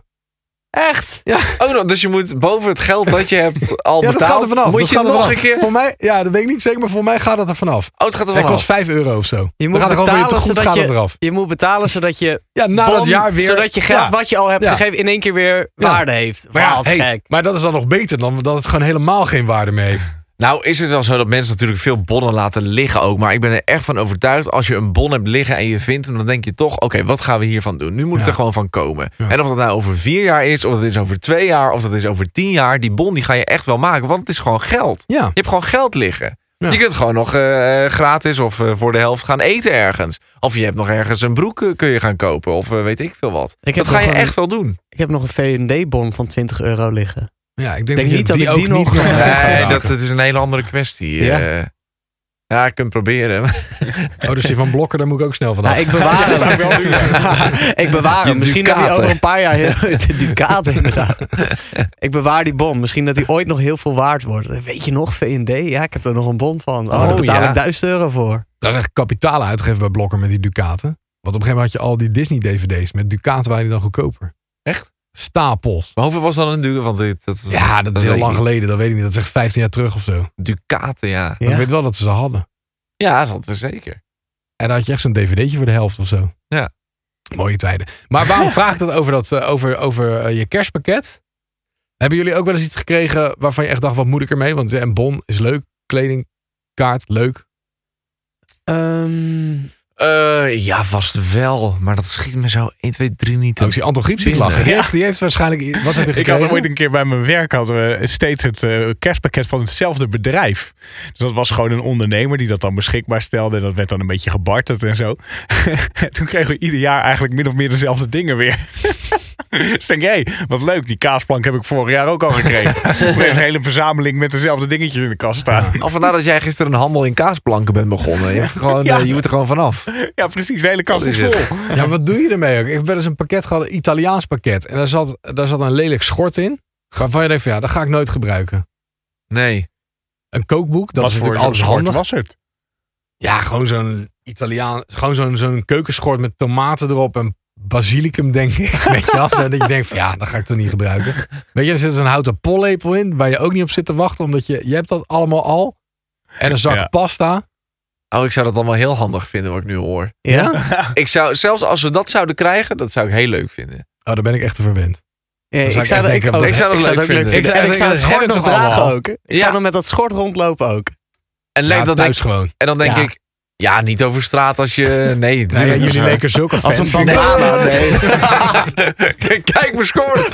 [SPEAKER 3] echt.
[SPEAKER 2] Oh, nou, dus je moet boven het geld dat je hebt al
[SPEAKER 1] Ja, dat
[SPEAKER 2] betaald,
[SPEAKER 1] gaat er vanaf.
[SPEAKER 2] moet
[SPEAKER 1] Dat
[SPEAKER 2] je
[SPEAKER 1] gaat er
[SPEAKER 2] nog
[SPEAKER 1] vanaf.
[SPEAKER 2] een keer...
[SPEAKER 1] Voor mij, ja, dat weet ik niet zeker, maar voor mij gaat dat er vanaf.
[SPEAKER 2] Oh, het gaat er
[SPEAKER 1] Het
[SPEAKER 2] vanaf.
[SPEAKER 1] kost 5 euro of zo.
[SPEAKER 3] Je
[SPEAKER 1] Dan
[SPEAKER 3] moet
[SPEAKER 1] gaat er gewoon weer
[SPEAKER 3] betalen
[SPEAKER 1] te goed
[SPEAKER 3] zodat
[SPEAKER 1] gaat het
[SPEAKER 3] je-
[SPEAKER 1] eraf.
[SPEAKER 3] Je moet betalen zodat je,
[SPEAKER 1] Ja, na dat
[SPEAKER 3] bon,
[SPEAKER 1] jaar weer.
[SPEAKER 3] zodat je geld
[SPEAKER 1] Ja.
[SPEAKER 3] wat je al hebt
[SPEAKER 1] Ja.
[SPEAKER 3] gegeven in één keer weer
[SPEAKER 1] Ja.
[SPEAKER 3] waarde heeft.
[SPEAKER 1] Maar, ja,
[SPEAKER 3] Wat
[SPEAKER 1] hey,
[SPEAKER 3] gek.
[SPEAKER 1] maar dat is dan nog beter dan dat het gewoon helemaal geen waarde meer heeft.
[SPEAKER 2] Nou is het wel zo dat mensen natuurlijk veel bonnen laten liggen ook. Maar ik ben er echt van overtuigd. Als je een bon hebt liggen en je vindt hem, dan denk je toch... Oké, wat gaan we hiervan doen? Nu moet het
[SPEAKER 1] Ja.
[SPEAKER 2] er gewoon van komen.
[SPEAKER 1] Ja.
[SPEAKER 2] En of dat nou over vier jaar is, of dat is over twee jaar... of dat is over tien jaar, die bon die ga je echt wel maken. Want het is gewoon geld.
[SPEAKER 1] Ja.
[SPEAKER 2] Je hebt gewoon geld liggen.
[SPEAKER 1] Ja.
[SPEAKER 2] Je kunt gewoon nog eh, gratis of eh, voor de helft gaan eten ergens. Of je hebt nog ergens een broek eh, kun je gaan kopen. Of eh, weet ik veel wat.
[SPEAKER 3] Ik heb
[SPEAKER 2] Dat ga je
[SPEAKER 3] nog een-
[SPEAKER 2] echt wel doen.
[SPEAKER 3] Ik heb nog een VND-bon van 20 euro liggen.
[SPEAKER 1] Ja, ik denk,
[SPEAKER 3] Denk
[SPEAKER 1] dat je
[SPEAKER 3] niet dat
[SPEAKER 1] die
[SPEAKER 3] ik
[SPEAKER 1] ook
[SPEAKER 3] die nog-
[SPEAKER 1] niet meer gaat
[SPEAKER 2] Nee, dat,
[SPEAKER 1] raken.
[SPEAKER 2] dat is een hele andere kwestie.
[SPEAKER 3] Ja.
[SPEAKER 2] Ja, ja ik kan het proberen.
[SPEAKER 1] Oh, dus die van Blokker, daar moet ik ook snel vanaf.
[SPEAKER 3] Nou, ik bewaar hem. ik bewaar hem.
[SPEAKER 2] Je
[SPEAKER 3] Misschien dat hij
[SPEAKER 2] Ducaten.
[SPEAKER 3] over een paar jaar... heel- de Ducaten, inderdaad. Ik bewaar die bon. Misschien dat hij ooit nog heel veel waard wordt. Weet je nog, V&D? Ja, ik heb er nog een bon van. Oh, daar
[SPEAKER 2] Oh,
[SPEAKER 3] betaal
[SPEAKER 2] ja.
[SPEAKER 3] ik duizend euro voor.
[SPEAKER 1] Dat is echt kapitaal uitgeven bij Blokker met die Ducaten. Want op een gegeven moment had je al die Disney-DVD's. Met Ducaten waren die dan goedkoper.
[SPEAKER 2] Echt?
[SPEAKER 1] Stapels.
[SPEAKER 2] Maar hoeveel was dan een duur? Want dit- dat,
[SPEAKER 1] Ja, dat is heel
[SPEAKER 2] weet
[SPEAKER 1] lang
[SPEAKER 2] ik niet.
[SPEAKER 1] geleden. Dat weet ik niet. Dat is echt 15 jaar terug of zo. Maar
[SPEAKER 2] Ducaten, ja.
[SPEAKER 1] Ik
[SPEAKER 3] Ja?
[SPEAKER 1] weet wel dat ze ze hadden.
[SPEAKER 2] Ja, dat is zeker.
[SPEAKER 1] En dan had je echt zo'n dvd'tje voor de helft of zo.
[SPEAKER 2] Ja.
[SPEAKER 1] Mooie tijden. Maar waarom vraag ik dat over, dat, eh, over, over eh, je kerstpakket? Hebben jullie ook wel eens iets gekregen waarvan je echt dacht, wat moet ik ermee? Want eh, een bon is leuk, kledingkaart leuk.
[SPEAKER 3] Ehm,
[SPEAKER 2] Eh, ja, vast wel. Maar dat schiet me zo 1, 2, 3 niet
[SPEAKER 1] Oh, ik zie Anton Griep ziet
[SPEAKER 2] Binnen.
[SPEAKER 1] lachen. Die, heeft, die heeft waarschijnlijk... i- Wat heb je
[SPEAKER 4] Ik had
[SPEAKER 1] gekregen?
[SPEAKER 4] er ooit een keer bij mijn werk hadden we steeds het eh, kerstpakket van hetzelfde bedrijf. Dus dat was gewoon een ondernemer die dat dan beschikbaar stelde. En dat werd dan een beetje gebarterd en zo. En Toen kregen we ieder jaar eigenlijk min of meer dezelfde dingen weer. Dus denk ik, hé, wat leuk, die kaasplank heb ik vorig jaar ook al gekregen. We hebben een hele verzameling met dezelfde dingetjes in de kast staan.
[SPEAKER 2] Al vandaar dat jij gisteren een handel in kaasplanken bent begonnen. Je, hebt gewoon,
[SPEAKER 4] Ja.
[SPEAKER 2] eh, je moet er gewoon vanaf.
[SPEAKER 4] Ja, precies, de hele kast
[SPEAKER 2] Dat
[SPEAKER 4] is
[SPEAKER 2] is
[SPEAKER 4] vol.
[SPEAKER 2] het.
[SPEAKER 1] Ja, maar wat doe je ermee ook? Ik heb wel eens een pakket gehad, een Italiaans pakket. En daar zat, daar zat een lelijk schort in. Waarvan je denkt van ja, dat ga ik nooit gebruiken.
[SPEAKER 2] Nee.
[SPEAKER 1] Een kookboek, dat
[SPEAKER 4] Wat
[SPEAKER 1] is
[SPEAKER 4] voor
[SPEAKER 1] natuurlijk alles
[SPEAKER 4] soort
[SPEAKER 1] handig.
[SPEAKER 4] was het?
[SPEAKER 1] Ja, gewoon zo'n Italiaan, gewoon zo'n zo'n keukenschort met tomaten erop en basilicum, denk ik. Weet je wel, zo dat je denkt van ja, dat ga ik toch niet gebruiken. Weet je, er zit een houten pollepel in waar je ook niet op zit te wachten, omdat je, je hebt dat allemaal al. En een zak
[SPEAKER 4] Ja.
[SPEAKER 1] pasta.
[SPEAKER 2] Oh, ik zou dat dan wel heel handig vinden wat ik nu hoor.
[SPEAKER 3] Ja?
[SPEAKER 2] Ik zou, zelfs als we dat zouden krijgen, dat zou ik heel leuk vinden.
[SPEAKER 1] Oh, daar ben ik echt te verwend.
[SPEAKER 3] Ja,
[SPEAKER 1] zou ik echt denken,
[SPEAKER 3] ook-
[SPEAKER 1] dat
[SPEAKER 2] ik zou dat leuk vinden.
[SPEAKER 1] Ik zou
[SPEAKER 3] en ik
[SPEAKER 1] echt
[SPEAKER 3] zou het
[SPEAKER 1] denken, dat
[SPEAKER 3] schort nog
[SPEAKER 1] heb ik toch
[SPEAKER 3] dragen
[SPEAKER 1] allemaal.
[SPEAKER 3] ook. Ik
[SPEAKER 2] Ja.
[SPEAKER 3] zou dan met dat schort rondlopen ook.
[SPEAKER 2] En,
[SPEAKER 1] Ja,
[SPEAKER 2] leuk dat
[SPEAKER 1] thuis
[SPEAKER 2] ik,
[SPEAKER 1] gewoon.
[SPEAKER 2] en dan denk
[SPEAKER 3] Ja.
[SPEAKER 2] ik, ja, niet over straat als je... Nee,
[SPEAKER 1] Nee,
[SPEAKER 2] natuurlijk
[SPEAKER 1] jullie
[SPEAKER 2] niet.
[SPEAKER 1] leken zulke
[SPEAKER 3] Als een
[SPEAKER 1] fans. Ah,
[SPEAKER 3] bandana. Nee.
[SPEAKER 2] Kijk mijn schort.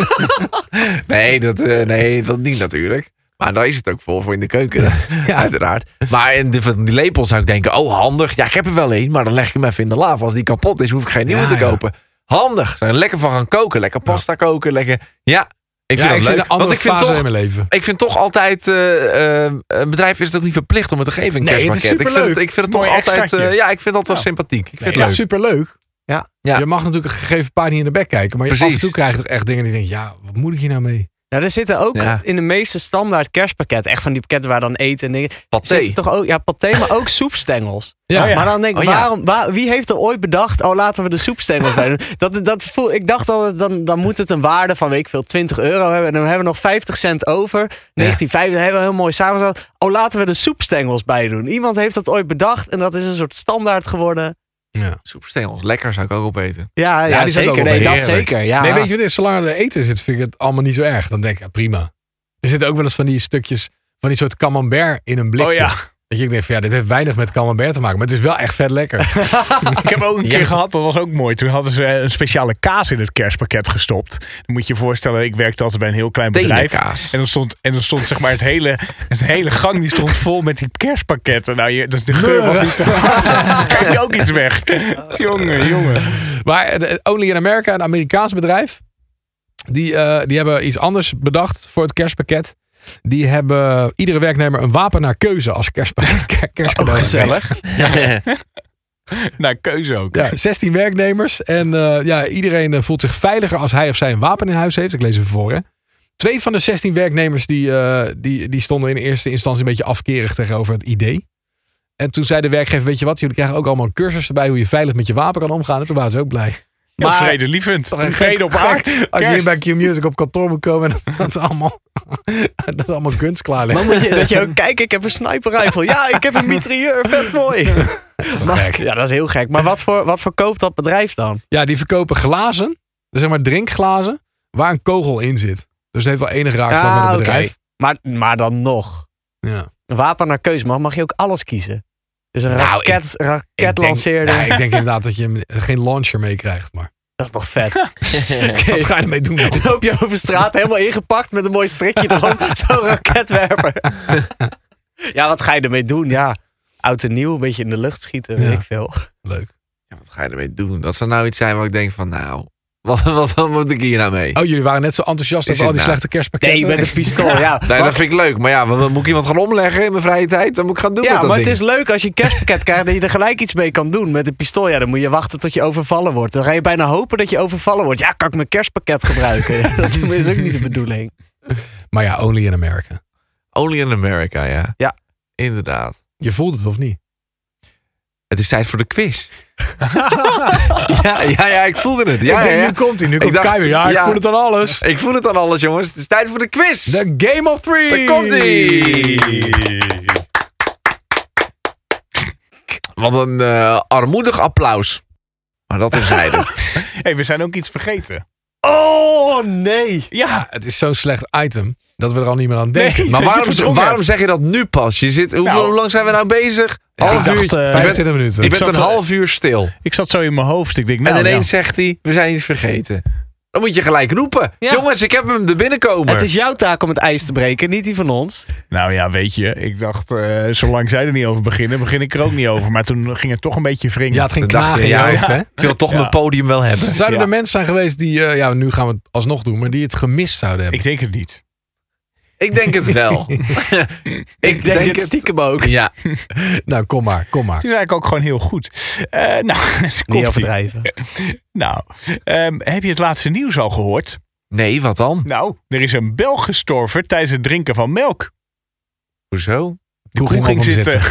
[SPEAKER 2] nee, dat, eh, nee, dat niet natuurlijk. Maar daar is het ook vol voor in de keuken, uiteraard. Maar in de, van die lepel zou ik denken, oh handig. Ja, ik heb er wel één, maar dan leg ik hem even in de la. Als die kapot is, hoef ik geen nieuwe
[SPEAKER 1] Ja,
[SPEAKER 2] te
[SPEAKER 1] ja.
[SPEAKER 2] kopen. Handig. Daar lekker van gaan koken. Lekker pasta koken. Lekker, ja, ik
[SPEAKER 1] Ja,
[SPEAKER 2] vind
[SPEAKER 1] ik
[SPEAKER 2] dat
[SPEAKER 1] zit in
[SPEAKER 2] leuk.
[SPEAKER 1] een andere
[SPEAKER 2] Want ik vind,
[SPEAKER 1] fase
[SPEAKER 2] toch,
[SPEAKER 1] in mijn leven.
[SPEAKER 2] ik vind toch altijd, eh, eh, een bedrijf is het ook niet verplicht om het te geven, een
[SPEAKER 1] Nee, het is
[SPEAKER 2] kerstpakket. ik vind
[SPEAKER 1] superleuk.
[SPEAKER 2] het, ik vind het
[SPEAKER 4] Mooi
[SPEAKER 2] toch altijd,
[SPEAKER 4] extraatje.
[SPEAKER 2] eh, ja, ik vind dat wel
[SPEAKER 4] Ja.
[SPEAKER 2] sympathiek. Ik vind
[SPEAKER 1] Ja,
[SPEAKER 2] het leuk.
[SPEAKER 1] superleuk.
[SPEAKER 3] Ja.
[SPEAKER 2] Ja.
[SPEAKER 1] Je mag natuurlijk een gegeven paard niet in de bek kijken. Maar je af en
[SPEAKER 2] Precies.
[SPEAKER 1] toe krijg je toch echt dingen die denk ja, wat moet ik hier nou mee?
[SPEAKER 3] Nou, er zitten ook
[SPEAKER 2] Ja.
[SPEAKER 3] in de meeste standaard kerstpakketten, echt van die pakketten waar dan eten en dingen.
[SPEAKER 2] Pathé.
[SPEAKER 3] Zitten toch ook, ja, paté, maar ook soepstengels.
[SPEAKER 1] Ja,
[SPEAKER 4] Oh ja.
[SPEAKER 3] Maar dan denk ik,
[SPEAKER 2] Oh ja.
[SPEAKER 3] waarom, waar- wie heeft er ooit bedacht, oh laten we de soepstengels bij doen? Dat, dat voel, ik dacht al, dan, dan moet het een waarde van, weet ik veel, 20 euro hebben. En dan hebben we nog 50 cent over. 1950, dan hebben we heel mooi samengesteld. Oh, laten we de soepstengels bij doen. Iemand heeft dat ooit bedacht en dat is een soort standaard geworden.
[SPEAKER 2] Soepstengels, lekker zou ik ook opeten.
[SPEAKER 3] Ja, ja,
[SPEAKER 1] Ja, die zijn ook
[SPEAKER 3] zeker.
[SPEAKER 1] wel
[SPEAKER 3] Nee, dat
[SPEAKER 1] heerlijk.
[SPEAKER 3] zeker. Ja.
[SPEAKER 1] Nee, weet je wat het is? Zolang er eten zit, vind ik het allemaal niet zo erg. Dan denk ik, ja, prima. Er zitten ook wel eens van die stukjes, van die soort camembert in een blikje.
[SPEAKER 4] Oh ja.
[SPEAKER 1] Dat je ook denkt van, ja, dit heeft weinig met camembert te maken. Maar het is wel echt vet lekker.
[SPEAKER 4] Ik heb ook een
[SPEAKER 2] Ja.
[SPEAKER 4] keer gehad, dat was ook mooi. Toen hadden ze eh, een speciale kaas in het kerstpakket gestopt. Dan moet je je voorstellen, ik werkte altijd bij een heel klein bedrijf.
[SPEAKER 2] Tenenkaas.
[SPEAKER 4] En dan stond, en dan stond zeg maar het hele, het hele gang die stond vol met die kerstpakketten. Nou, je, dus de geur was niet te hard. Krijg je ook iets weg. Jongen, jongen.
[SPEAKER 1] maar eh, Only in America, een Amerikaans bedrijf, die, eh, die hebben iets anders bedacht voor het kerstpakket. Die hebben iedere werknemer een wapen naar keuze als kerstpakket. kerstcadeau gegeven.
[SPEAKER 4] Naar Nou, keuze ook.
[SPEAKER 1] Ja, 16 werknemers. En eh, ja, iedereen eh, voelt zich veiliger als hij of zij een wapen in huis heeft. Ik lees even voor, hè. Twee van de 16 werknemers die, eh, die, die stonden in eerste instantie een beetje afkerig tegenover het idee. En toen zei de werkgever, weet je wat, jullie krijgen ook allemaal een cursus erbij hoe je veilig met je wapen kan omgaan. En toen waren ze ook blij.
[SPEAKER 4] Maar,
[SPEAKER 3] Maar-
[SPEAKER 4] vredelievend.
[SPEAKER 1] Toch een
[SPEAKER 4] Vrede
[SPEAKER 1] gek-
[SPEAKER 4] op
[SPEAKER 1] gek
[SPEAKER 4] aard.
[SPEAKER 1] Als je hier
[SPEAKER 4] Kerst.
[SPEAKER 1] bij Q-Music op kantoor moet komen, en dat, dat is allemaal, dat is allemaal kunst klaarleggen.
[SPEAKER 3] Dan moet je, dat je ook, kijk, ik heb een sniper rifle. Ja, ik heb een mitrailleur, vet mooi. Maar- Ja, dat is heel gek. Maar wat voor, wat voor koopt dat bedrijf dan?
[SPEAKER 1] Ja, die verkopen glazen, dus zeg maar drinkglazen, waar een kogel in zit. Dus het heeft wel enig raakvlak met het
[SPEAKER 3] Ah, oké.
[SPEAKER 1] bedrijf.
[SPEAKER 3] Maar, maar dan nog.
[SPEAKER 1] Ja.
[SPEAKER 3] Een wapen naar keuze mag, mag je ook alles kiezen. Dus een
[SPEAKER 1] Nou, ik-
[SPEAKER 3] raket,
[SPEAKER 1] Ik denk-
[SPEAKER 3] raketlanceerder,
[SPEAKER 1] nou, ik denk inderdaad dat je hem- eh, geen launcher meekrijgt. Maar
[SPEAKER 3] dat is toch vet.
[SPEAKER 1] wat ga je ermee doen dan?
[SPEAKER 3] Dan loop je over straat helemaal ingepakt met een mooi strikje erom. Zo'n raketwerper. ja, wat ga je ermee doen? Ja, oud en nieuw, een beetje in de lucht schieten, weet
[SPEAKER 1] Ja.
[SPEAKER 3] ik veel.
[SPEAKER 1] Leuk.
[SPEAKER 2] Ja, wat ga je ermee doen? Dat zou nou iets zijn waar ik denk van, nou, wat, wat, wat moet ik hier nou mee?
[SPEAKER 1] Oh, jullie waren net zo enthousiast
[SPEAKER 2] Is
[SPEAKER 1] over al
[SPEAKER 2] het
[SPEAKER 1] die
[SPEAKER 2] nou?
[SPEAKER 1] slechte
[SPEAKER 3] Nee,
[SPEAKER 1] kerstpakketten.
[SPEAKER 3] met een pistool, ja.
[SPEAKER 2] Nee,
[SPEAKER 3] Maar-
[SPEAKER 2] dat vind ik leuk, maar ja, wat- wat moet ik iemand gaan omleggen in mijn vrije tijd? Wat moet ik gaan doen
[SPEAKER 3] Ja,
[SPEAKER 2] met dat
[SPEAKER 3] maar
[SPEAKER 2] ding?
[SPEAKER 3] het is leuk als je een kerstpakket krijgt dat je er gelijk iets mee kan doen met een pistool. Ja, dan moet je wachten tot je overvallen wordt. Dan ga je bijna hopen dat je overvallen wordt. Ja, kan ik mijn kerstpakket gebruiken? dat is ook niet de bedoeling.
[SPEAKER 1] Maar ja, only in America.
[SPEAKER 2] Only in America, ja.
[SPEAKER 3] Ja.
[SPEAKER 2] Inderdaad.
[SPEAKER 1] Je voelt het of niet?
[SPEAKER 2] Het is tijd voor de quiz. ja, ja, ja, ik voelde het. Ja,
[SPEAKER 1] ik denk,
[SPEAKER 2] ja, ja.
[SPEAKER 1] nu komt hij. Nu komt
[SPEAKER 2] dacht-
[SPEAKER 1] Kai weer. Ja, ik
[SPEAKER 2] ja.
[SPEAKER 1] voel het aan alles.
[SPEAKER 2] Ik voel het aan alles, jongens. Het is tijd voor de quiz.
[SPEAKER 1] De Game of Three.
[SPEAKER 2] Daar komt ie. Wat een eh, armoedig applaus. Maar dat terzijde.
[SPEAKER 4] hey, we zijn ook iets vergeten.
[SPEAKER 3] Oh, nee.
[SPEAKER 1] Ja, het is zo'n slecht item dat we er al niet meer aan denken.
[SPEAKER 4] Nee.
[SPEAKER 2] maar
[SPEAKER 4] je
[SPEAKER 2] waarom,
[SPEAKER 4] verdrongen
[SPEAKER 2] waarom zeg je dat nu pas? Je zit, hoeveel,
[SPEAKER 4] Nou.
[SPEAKER 2] hoe lang zijn we nou bezig? half
[SPEAKER 4] ik
[SPEAKER 2] uur.
[SPEAKER 4] dacht, eh,
[SPEAKER 2] je bent,
[SPEAKER 1] 25 minuten.
[SPEAKER 2] je bent
[SPEAKER 4] zat
[SPEAKER 2] een
[SPEAKER 4] te-
[SPEAKER 2] half uur stil.
[SPEAKER 4] Ik zat zo in mijn hoofd. Ik denk, nou,
[SPEAKER 2] en
[SPEAKER 4] ja.
[SPEAKER 2] ineens zegt hij, we zijn iets vergeten. Dan moet je gelijk roepen.
[SPEAKER 3] Ja.
[SPEAKER 2] Jongens, ik heb hem er binnenkomen.
[SPEAKER 3] Het is jouw taak om het ijs te breken, niet die van ons.
[SPEAKER 4] Nou ja, weet je, ik dacht, eh, zolang zij er niet over beginnen, begin ik er ook niet over. Maar toen ging het toch een beetje wringen. Nou,
[SPEAKER 1] Ja, het ging
[SPEAKER 2] Dat dacht
[SPEAKER 1] knagen
[SPEAKER 2] ik,
[SPEAKER 1] in je
[SPEAKER 2] ja,
[SPEAKER 1] hoofd,
[SPEAKER 4] ja.
[SPEAKER 1] hè?
[SPEAKER 2] Ik wil toch
[SPEAKER 4] Ja.
[SPEAKER 2] mijn podium wel hebben.
[SPEAKER 1] Zouden
[SPEAKER 4] Ja.
[SPEAKER 1] er mensen zijn geweest die, eh, ja, nu gaan we het alsnog doen, maar die het gemist zouden hebben?
[SPEAKER 4] Ik denk het niet.
[SPEAKER 2] Ik denk het wel. ik
[SPEAKER 3] Denk, het stiekem ook.
[SPEAKER 2] Ja,
[SPEAKER 1] Nou, kom maar, kom maar.
[SPEAKER 4] Het is eigenlijk ook gewoon heel goed. Eh, nou, het
[SPEAKER 3] Niet
[SPEAKER 4] komt
[SPEAKER 3] overdrijven.
[SPEAKER 4] Nou, ehm, heb je het laatste nieuws al gehoord?
[SPEAKER 2] Nee, wat dan?
[SPEAKER 4] Nou, er is een Belg gestorven tijdens het drinken van melk.
[SPEAKER 2] Hoezo?
[SPEAKER 1] De
[SPEAKER 4] Hoe ging zitten?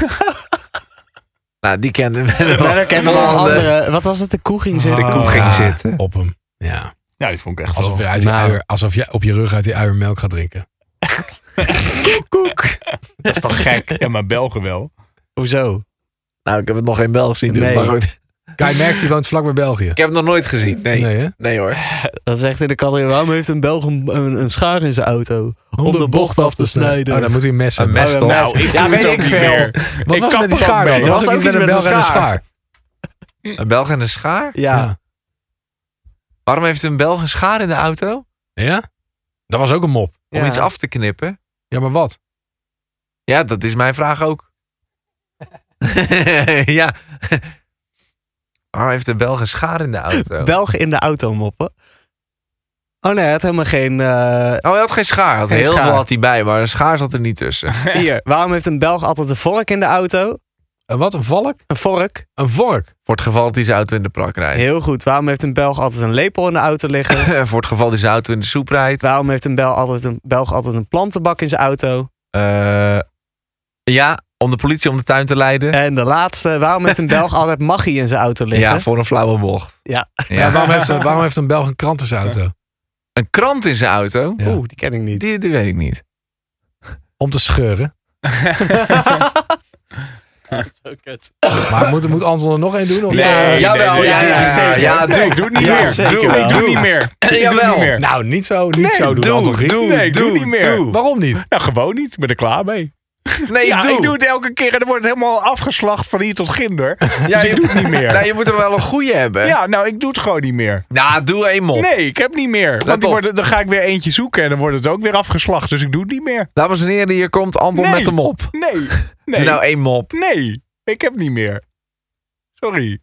[SPEAKER 2] Nou, die kende hem wel.
[SPEAKER 3] Maar dan kennen we
[SPEAKER 2] Van
[SPEAKER 3] al
[SPEAKER 2] de-
[SPEAKER 3] andere. Wat was het? De koe ging
[SPEAKER 2] De
[SPEAKER 3] zitten.
[SPEAKER 2] koe ging zitten.
[SPEAKER 1] Op hem. Ja.
[SPEAKER 4] Nou, die vond ik echt
[SPEAKER 1] Alsof
[SPEAKER 4] wel...
[SPEAKER 1] je, uit die
[SPEAKER 3] Nou.
[SPEAKER 1] uier- alsof je op je rug uit die uier melk gaat drinken.
[SPEAKER 3] koek. Dat is toch gek?
[SPEAKER 4] Ja, maar Belgen wel.
[SPEAKER 3] Ah, Hoezo?
[SPEAKER 2] Nou, ik heb het nog geen Belg zien doen.
[SPEAKER 3] Nee.
[SPEAKER 2] Maar goed, ik
[SPEAKER 1] Kai Merks die woont vlak bij België.
[SPEAKER 2] heb het nog nooit gezien. Nee, nee,
[SPEAKER 1] Nee, hè?
[SPEAKER 2] hoor.
[SPEAKER 3] Dat zegt in de categorie. Waarom heeft een Belg een, een, een schaar in zijn auto? Om de bocht af te snijden.
[SPEAKER 1] Oh, dan moet hij een mes hebben.
[SPEAKER 2] mes
[SPEAKER 1] Oh,
[SPEAKER 2] toch?
[SPEAKER 1] nou,
[SPEAKER 2] ik
[SPEAKER 4] doe het ook niet meer.
[SPEAKER 1] Wat
[SPEAKER 4] Ik
[SPEAKER 1] was
[SPEAKER 4] kap
[SPEAKER 1] het met die
[SPEAKER 4] er ook
[SPEAKER 1] schaar
[SPEAKER 4] mee.
[SPEAKER 1] dan? Er was
[SPEAKER 3] Er
[SPEAKER 1] ook
[SPEAKER 3] was
[SPEAKER 1] iets met een Belg en een schaar.
[SPEAKER 2] Een Belg en een schaar?
[SPEAKER 3] Ja.
[SPEAKER 2] Waarom heeft een Belg een schaar in de auto? Om
[SPEAKER 1] Ja? Dat was ook een mop.
[SPEAKER 3] Ja.
[SPEAKER 2] iets af te knippen?
[SPEAKER 1] Ja, maar wat?
[SPEAKER 2] Ja, dat is mijn vraag ook. ja. Waarom heeft een Belg een schaar in de auto?
[SPEAKER 3] Belg in de auto moppen. Oh nee, hij had helemaal geen... eh,
[SPEAKER 2] Oh, hij had geen schaar. Hij Had
[SPEAKER 3] Geen
[SPEAKER 2] heel
[SPEAKER 3] schaar.
[SPEAKER 2] veel had hij bij, maar een schaar zat er niet tussen.
[SPEAKER 3] hier, waarom heeft een Belg altijd een vork in de auto?
[SPEAKER 1] Een Eh, wat? Een valk?
[SPEAKER 3] Een vork?
[SPEAKER 1] Een vork?
[SPEAKER 2] Voor het geval dat hij zijn auto in de prak rijdt.
[SPEAKER 3] Heel goed. Waarom heeft een Belg altijd een lepel in de auto liggen?
[SPEAKER 2] Voor het geval dat hij zijn auto in de soep rijdt.
[SPEAKER 3] waarom heeft een Belg altijd een, Belg altijd een plantenbak in zijn auto?
[SPEAKER 2] Eh, ja, om de politie om de tuin te leiden.
[SPEAKER 4] Eh,
[SPEAKER 3] En de laatste, waarom heeft een Belg altijd magie in zijn auto liggen?
[SPEAKER 2] Ja, voor een flauwe bocht.
[SPEAKER 3] Ja.
[SPEAKER 1] Ja, waarom, heeft, eh, waarom heeft een Belg een krant in zijn auto?
[SPEAKER 2] Een krant in zijn auto?
[SPEAKER 1] Ja.
[SPEAKER 3] Oeh, die ken ik niet.
[SPEAKER 2] Die, die weet ik niet.
[SPEAKER 1] Om te scheuren.
[SPEAKER 3] Zo kut.
[SPEAKER 1] Maar moet, moet Anton er nog één doen? Of?
[SPEAKER 2] Nee, jawel, ja, ja, ja,
[SPEAKER 4] zeker.
[SPEAKER 2] ja, doe.
[SPEAKER 4] Nee, ik doe het niet
[SPEAKER 3] Ja,
[SPEAKER 4] meer.
[SPEAKER 3] zeker
[SPEAKER 4] Doe,
[SPEAKER 3] wel.
[SPEAKER 4] ik doe het niet meer. Ik doe het
[SPEAKER 2] Jawel.
[SPEAKER 4] niet meer.
[SPEAKER 1] Nou, niet zo, niet zo doen,
[SPEAKER 2] doe,
[SPEAKER 1] Anton Griek.
[SPEAKER 2] doe,
[SPEAKER 4] Nee, ik doe
[SPEAKER 2] doe,
[SPEAKER 4] het niet meer.
[SPEAKER 2] doe.
[SPEAKER 1] Waarom niet?
[SPEAKER 4] Nou, gewoon niet. Ik ben er klaar mee.
[SPEAKER 2] Nee,
[SPEAKER 4] ja,
[SPEAKER 2] doe.
[SPEAKER 4] ik doe het elke keer en dan wordt het helemaal afgeslacht van hier tot ginder. Dus
[SPEAKER 2] Ja, je,
[SPEAKER 4] Ik doe het niet meer.
[SPEAKER 2] nou, je moet er wel een goede hebben.
[SPEAKER 4] Ja, nou, ik doe het gewoon niet meer.
[SPEAKER 2] Nou, doe één mop.
[SPEAKER 4] Nee, ik heb niet meer. Want die
[SPEAKER 2] op.
[SPEAKER 4] worden, dan ga ik weer eentje zoeken en dan wordt het ook weer afgeslacht. Dus ik doe het niet meer.
[SPEAKER 2] Dames en heren, hier komt Anton
[SPEAKER 4] Nee.
[SPEAKER 2] met een mop.
[SPEAKER 4] Nee,
[SPEAKER 2] Doe
[SPEAKER 4] nee,
[SPEAKER 2] nou één mop.
[SPEAKER 4] nee. Ik heb niet meer. Sorry.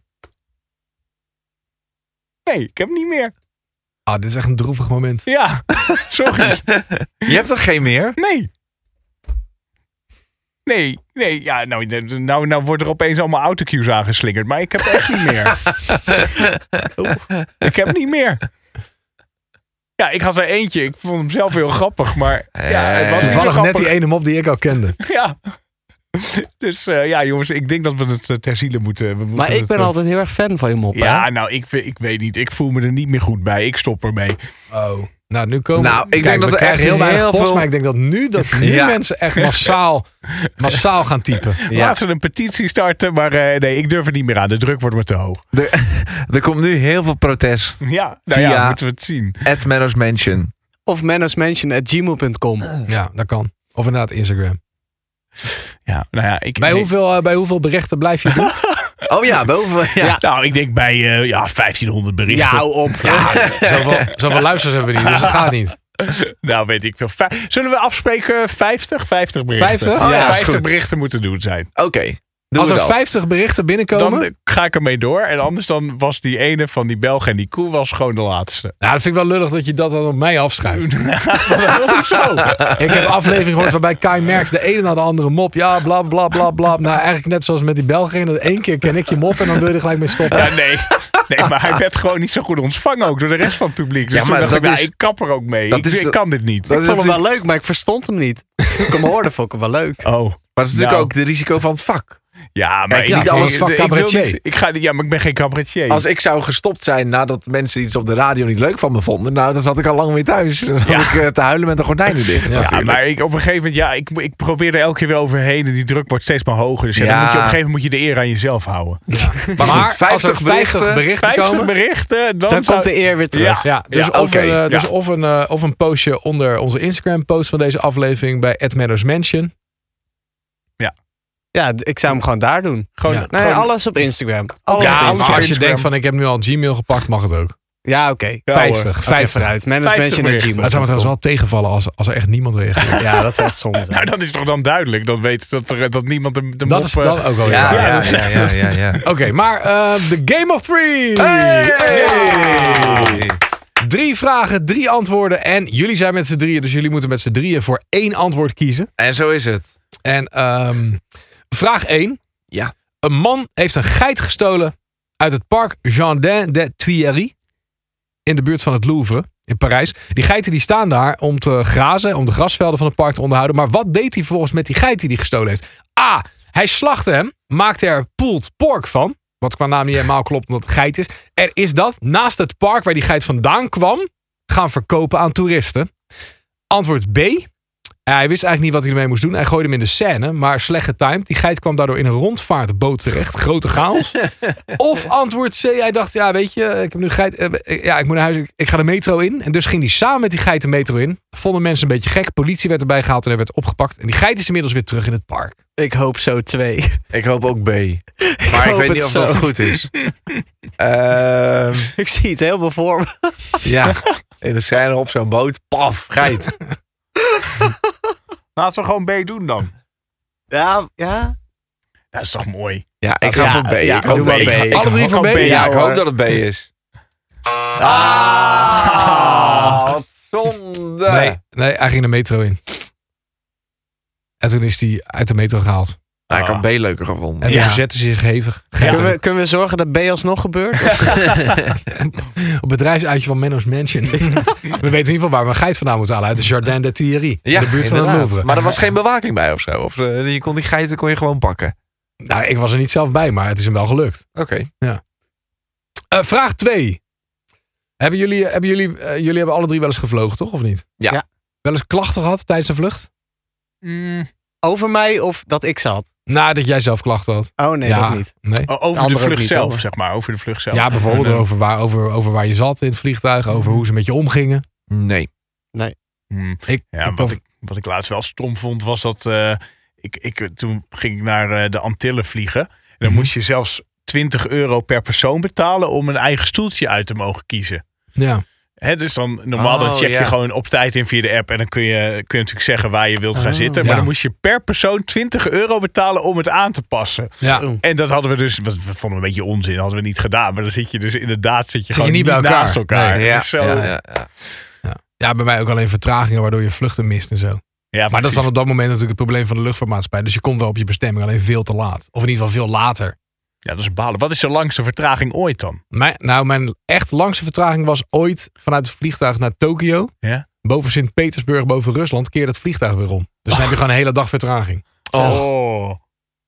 [SPEAKER 4] Nee, ik heb niet meer.
[SPEAKER 1] Ah, dit is echt een droevig moment.
[SPEAKER 4] Ja, sorry.
[SPEAKER 2] Je hebt er geen meer?
[SPEAKER 4] Nee. Nee, nee, ja, nou, nou, nou wordt er opeens allemaal autocues aangeslingerd, maar ik heb echt niet meer. Oeh, ik heb niet meer. Ja, ik had er eentje, ik vond hem zelf heel grappig, maar ja, het was niet zo
[SPEAKER 1] Toevallig net
[SPEAKER 4] grappig.
[SPEAKER 1] die ene mop die ik al kende.
[SPEAKER 4] Ja. Dus eh, ja, jongens, ik denk dat we het eh, ter ziele moeten. we
[SPEAKER 3] Maar
[SPEAKER 4] moeten
[SPEAKER 3] ik
[SPEAKER 4] het,
[SPEAKER 3] ben
[SPEAKER 4] eh,
[SPEAKER 3] altijd heel erg fan van je moppen.
[SPEAKER 4] Ja, nou, ik, we- ik weet niet. Ik voel me er niet meer goed bij. Ik stop ermee.
[SPEAKER 1] Oh. Nou, nu komen
[SPEAKER 2] Nou, ik denk
[SPEAKER 1] Kijk,
[SPEAKER 2] dat
[SPEAKER 1] we
[SPEAKER 2] er
[SPEAKER 1] krijgen
[SPEAKER 2] echt
[SPEAKER 1] heel weinig
[SPEAKER 2] heel
[SPEAKER 1] post,
[SPEAKER 2] veel-
[SPEAKER 1] maar ik denk dat nu, dat nu
[SPEAKER 2] Ja.
[SPEAKER 1] mensen echt massaal, massaal gaan typen.
[SPEAKER 2] Ja.
[SPEAKER 4] Laten we een petitie starten, maar eh, nee, ik durf het niet meer aan. De druk wordt me te hoog.
[SPEAKER 2] Er komt nu heel veel protest.
[SPEAKER 4] Ja, nou
[SPEAKER 2] Via-
[SPEAKER 4] ja, moeten we het zien.
[SPEAKER 2] At Menno's Mansion.
[SPEAKER 3] Of manosmansion.gmail.com.
[SPEAKER 4] Ah.
[SPEAKER 1] Ja, dat kan. Of inderdaad Instagram.
[SPEAKER 4] Ja, nou ja, ik,
[SPEAKER 1] Bij
[SPEAKER 4] ik-
[SPEAKER 1] hoeveel, eh, bij hoeveel berichten blijf je doen?
[SPEAKER 2] Oh ja, boven. Ja.
[SPEAKER 4] Nou, ik denk bij eh, ja, 1500
[SPEAKER 3] Ja,
[SPEAKER 4] berichten.
[SPEAKER 3] hou op.
[SPEAKER 1] Zoveel, zoveel luisteraars hebben we niet, dus dat gaat niet.
[SPEAKER 4] Nou, weet ik veel. Vij- Zullen we afspreken 50? 50 berichten.
[SPEAKER 1] 50?
[SPEAKER 2] Oh ja, is
[SPEAKER 4] 50
[SPEAKER 2] goed.
[SPEAKER 4] berichten moeten doen zijn.
[SPEAKER 2] Oké. Doen
[SPEAKER 1] Als
[SPEAKER 2] we
[SPEAKER 1] er
[SPEAKER 2] dat.
[SPEAKER 1] 50 berichten binnenkomen,
[SPEAKER 4] Dan eh, ga ik ermee door. En anders dan was die ene van die Belg en die koe was gewoon de laatste.
[SPEAKER 1] nou, dat vind ik wel lullig dat je dat dan op mij afschuift.
[SPEAKER 4] Zo.
[SPEAKER 1] Ik heb aflevering gehoord waarbij Kai Merks de ene naar de andere mop. Ja, bla bla bla bla. Nou, eigenlijk net zoals met die Belgen. Dat één keer ken ik je mop en dan wil je er gelijk mee stoppen.
[SPEAKER 4] Ja, nee. Nee, maar hij werd gewoon niet zo goed ontvangen ook door de rest van het publiek. Dus
[SPEAKER 2] Ja,
[SPEAKER 4] toen
[SPEAKER 2] maar
[SPEAKER 4] dacht ik,
[SPEAKER 2] dat
[SPEAKER 4] nou,
[SPEAKER 2] is-
[SPEAKER 4] ik kap er ook mee.
[SPEAKER 2] dat
[SPEAKER 4] Ik,
[SPEAKER 2] is-
[SPEAKER 4] ik kan dit niet.
[SPEAKER 2] dat
[SPEAKER 4] Ik
[SPEAKER 2] is
[SPEAKER 3] Ik vond
[SPEAKER 4] vond
[SPEAKER 3] hem wel leuk, maar ik verstond hem niet. Toen ik hem hoorde, vond ik hem wel leuk.
[SPEAKER 4] hem- Oh.
[SPEAKER 2] Maar dat is natuurlijk
[SPEAKER 4] Nou.
[SPEAKER 2] ook het risico van het vak.
[SPEAKER 4] Ja, maar
[SPEAKER 2] Kijk, niet
[SPEAKER 4] ik,
[SPEAKER 2] alles
[SPEAKER 4] ik-
[SPEAKER 1] van
[SPEAKER 4] ik wil
[SPEAKER 1] cabaretier.
[SPEAKER 4] niet- Ik ga, niet- ja, maar ik ben geen cabaretier.
[SPEAKER 2] Als ik zou gestopt zijn nadat mensen iets op de radio niet leuk van me vonden, nou, dan zat ik al lang weer thuis. Dan zat
[SPEAKER 4] Ja.
[SPEAKER 2] ik eh, te huilen met de gordijnen dicht.
[SPEAKER 1] Ja,
[SPEAKER 4] Ja,
[SPEAKER 2] natuurlijk.
[SPEAKER 4] maar ik, op een gegeven moment, ja, ik, ik probeer er elke keer weer overheen. En die druk wordt steeds maar hoger. Dus ja,
[SPEAKER 2] Ja.
[SPEAKER 4] Dan moet je, op een gegeven moment moet je de eer aan jezelf houden.
[SPEAKER 1] Maar,
[SPEAKER 2] goed,
[SPEAKER 1] als er
[SPEAKER 2] 50
[SPEAKER 1] 50 berichten,
[SPEAKER 2] berichten-
[SPEAKER 4] 50
[SPEAKER 1] komen...
[SPEAKER 4] berichten, dan,
[SPEAKER 3] Dan
[SPEAKER 4] zou-
[SPEAKER 3] komt de eer weer terug.
[SPEAKER 1] Ja, dus,
[SPEAKER 4] Ja,
[SPEAKER 1] of,
[SPEAKER 2] oké,
[SPEAKER 1] een, eh, dus
[SPEAKER 4] ja.
[SPEAKER 1] of, een, eh, of een postje onder onze Instagram post van deze aflevering bij Ed Meadows Mansion.
[SPEAKER 3] Ja, d- ik zou hem gewoon daar doen.
[SPEAKER 4] gewoon,
[SPEAKER 1] Ja.
[SPEAKER 3] Nee,
[SPEAKER 4] gewoon-
[SPEAKER 3] alles op Instagram. Alles
[SPEAKER 4] Ja,
[SPEAKER 1] maar
[SPEAKER 3] op
[SPEAKER 1] als
[SPEAKER 4] alles op
[SPEAKER 3] Instagram.
[SPEAKER 1] je
[SPEAKER 4] Instagram.
[SPEAKER 1] denkt van ik heb nu al Gmail gepakt, mag het ook.
[SPEAKER 3] Ja, oké.
[SPEAKER 4] Ja, hoor.
[SPEAKER 1] 50,
[SPEAKER 3] Oké,
[SPEAKER 1] 50.
[SPEAKER 3] vooruit. Management
[SPEAKER 4] 50
[SPEAKER 3] en
[SPEAKER 4] berichten.
[SPEAKER 1] Het zou me trouwens wel tegenvallen als, als er echt niemand reageert.
[SPEAKER 3] Ja, dat is echt zonde.
[SPEAKER 4] Nou, dat is toch dan duidelijk. Dat weet dat, er, dat niemand de, de mop...
[SPEAKER 1] Dat is
[SPEAKER 4] eh,
[SPEAKER 1] dan ook wel
[SPEAKER 2] Ja,
[SPEAKER 1] weer waar.
[SPEAKER 2] ja,
[SPEAKER 4] dat is-
[SPEAKER 2] ja, ja, ja, ja.
[SPEAKER 1] Oké, maar eh, de Game of Three!
[SPEAKER 2] Hey!
[SPEAKER 1] Drie vragen, drie antwoorden. En jullie zijn met z'n drieën, dus jullie moeten met z'n drieën voor één antwoord kiezen.
[SPEAKER 2] En zo is het.
[SPEAKER 1] En ehm, vraag 1.
[SPEAKER 2] Ja.
[SPEAKER 1] Een man heeft een geit gestolen uit het park Jardin des Tuileries in de buurt van het Louvre. in Parijs. Die geiten die staan daar om te grazen, om de grasvelden van het park te onderhouden. Maar wat deed hij vervolgens met die geit die hij gestolen heeft? A. Hij slachtte hem, maakte er pulled pork van. Wat qua naam niet helemaal klopt, omdat het geit is. Er is dat naast het park waar die geit vandaan kwam, gaan verkopen aan toeristen. Antwoord B. Eh, Hij wist eigenlijk niet wat hij ermee moest doen. Hij gooide hem in de scène, maar slecht getimed. Die geit kwam daardoor in een rondvaartboot terecht. Grote chaos. Of antwoord C. Hij dacht, ja, weet je, ik heb nu geit. eh, ja, ik moet naar huis. Ik, ik ga de metro in. En dus ging hij samen met die geit de metro in. Vonden mensen een beetje gek. Politie werd erbij gehaald en hij werd opgepakt. En die geit is inmiddels weer terug in het park.
[SPEAKER 3] Ik hoop zo twee.
[SPEAKER 2] Ik hoop ook B. Maar ik,
[SPEAKER 3] hoop
[SPEAKER 2] weet niet
[SPEAKER 3] het
[SPEAKER 2] of
[SPEAKER 3] zo.
[SPEAKER 2] dat goed is. Ehm,
[SPEAKER 3] ik zie het helemaal voor me.
[SPEAKER 2] ja, in de scène op zo'n boot. Paf, geit.
[SPEAKER 4] Laten we gewoon B doen dan.
[SPEAKER 3] Ja, ja.
[SPEAKER 4] Dat is toch mooi?
[SPEAKER 2] Ja, ik ga
[SPEAKER 3] Ja,
[SPEAKER 2] voor B.
[SPEAKER 3] ja,
[SPEAKER 2] ik hoop
[SPEAKER 3] doe
[SPEAKER 2] B.
[SPEAKER 3] maar
[SPEAKER 2] Ik
[SPEAKER 3] B.
[SPEAKER 2] ga-
[SPEAKER 4] Ik
[SPEAKER 1] Alle drie
[SPEAKER 4] hou
[SPEAKER 1] voor B?
[SPEAKER 4] van
[SPEAKER 2] ja, ik
[SPEAKER 3] Ja,
[SPEAKER 2] hoop
[SPEAKER 3] hoor.
[SPEAKER 2] dat het B is.
[SPEAKER 3] Ah.
[SPEAKER 2] Wat zonde.
[SPEAKER 1] Nee, nee hij ging de metro in. En toen is hij uit de metro gehaald.
[SPEAKER 2] Nou, ik had B leuker gevonden.
[SPEAKER 1] En toen
[SPEAKER 3] Ja.
[SPEAKER 1] verzette ze zich hevig. Geit
[SPEAKER 3] Kunnen, we, kunnen we zorgen dat B alsnog gebeurt?
[SPEAKER 1] Op bedrijfsuitje van Menno's Mansion. we weten in ieder geval waar we een geit vandaan moeten halen. Uit de Jardin des Tuileries.
[SPEAKER 2] Ja,
[SPEAKER 1] in de buurt van
[SPEAKER 2] inderdaad.
[SPEAKER 1] de Louvre.
[SPEAKER 2] Maar er was geen bewaking bij of zo. Of eh, je kon die geiten kon je gewoon pakken.
[SPEAKER 1] Nou, ik was er niet zelf bij, maar het is hem wel gelukt.
[SPEAKER 2] Oké.
[SPEAKER 1] Eh, vraag 2. Hebben jullie, hebben jullie, eh, jullie hebben alle drie wel eens gevlogen, toch? Of niet?
[SPEAKER 2] Ja.
[SPEAKER 3] Ja.
[SPEAKER 1] Wel eens klachten gehad tijdens een vlucht?
[SPEAKER 4] Mm,
[SPEAKER 3] Over mij of dat ik zat?
[SPEAKER 1] Nadat jij zelf klachten had.
[SPEAKER 3] Oh nee,
[SPEAKER 1] ja,
[SPEAKER 3] dat niet.
[SPEAKER 1] Nee.
[SPEAKER 4] o- over de
[SPEAKER 3] Anderen ook
[SPEAKER 4] vlucht
[SPEAKER 3] niet,
[SPEAKER 4] zelf,
[SPEAKER 3] hoor.
[SPEAKER 4] zeg maar. Over de vlucht zelf.
[SPEAKER 1] Ja, bijvoorbeeld
[SPEAKER 4] En, eh,
[SPEAKER 1] over waar, over, over waar je zat in het vliegtuig. Over
[SPEAKER 3] Mhm.
[SPEAKER 1] hoe ze met je omgingen.
[SPEAKER 2] Nee.
[SPEAKER 4] mm.
[SPEAKER 1] Ik,
[SPEAKER 4] Ja,
[SPEAKER 1] ik
[SPEAKER 4] wat
[SPEAKER 1] was-
[SPEAKER 4] ik, wat ik laatst wel stom vond, was dat eh, ik, ik, toen ging ik naar eh, de Antillen vliegen. En dan
[SPEAKER 1] Mhm.
[SPEAKER 4] moest je zelfs 20 euro per persoon betalen om een eigen stoeltje uit te mogen kiezen.
[SPEAKER 1] ja.
[SPEAKER 4] Hè, dus dan normaal dan
[SPEAKER 2] Oh,
[SPEAKER 4] check
[SPEAKER 2] ja.
[SPEAKER 4] je gewoon op tijd in via de app. En dan kun je, kun je natuurlijk zeggen waar je wilt gaan
[SPEAKER 3] Oh.
[SPEAKER 4] zitten.
[SPEAKER 1] Ja.
[SPEAKER 4] Maar dan moest je per persoon 20 euro betalen om het aan te passen.
[SPEAKER 1] ja.
[SPEAKER 3] Zo.
[SPEAKER 4] En dat hadden we dus, wat we vonden een beetje onzin, hadden we niet gedaan. Maar dan zit je dus inderdaad, zit je
[SPEAKER 1] je
[SPEAKER 4] gewoon
[SPEAKER 1] niet bij elkaar.
[SPEAKER 4] naast elkaar.
[SPEAKER 1] Nee,
[SPEAKER 4] Dat
[SPEAKER 2] ja,
[SPEAKER 4] is zo,
[SPEAKER 2] ja,
[SPEAKER 4] ja,
[SPEAKER 2] ja, ja.
[SPEAKER 1] Ja, bij mij ook alleen vertragingen waardoor je vluchten mist en zo. Maar dat is dan op dat moment natuurlijk het probleem van de luchtvaartmaatschappij. Dus je komt wel op je bestemming, alleen veel te laat. Of in ieder geval veel later.
[SPEAKER 4] ja, dat is balen. Wat is de langste vertraging ooit dan?
[SPEAKER 1] Mijn, nou, mijn echt langste vertraging was ooit vanuit het vliegtuig naar Tokio.
[SPEAKER 4] Ja.
[SPEAKER 1] Boven Sint-Petersburg, boven Rusland, keerde het vliegtuig weer om. Dus dan heb je gewoon een hele dag vertraging.
[SPEAKER 4] Oh.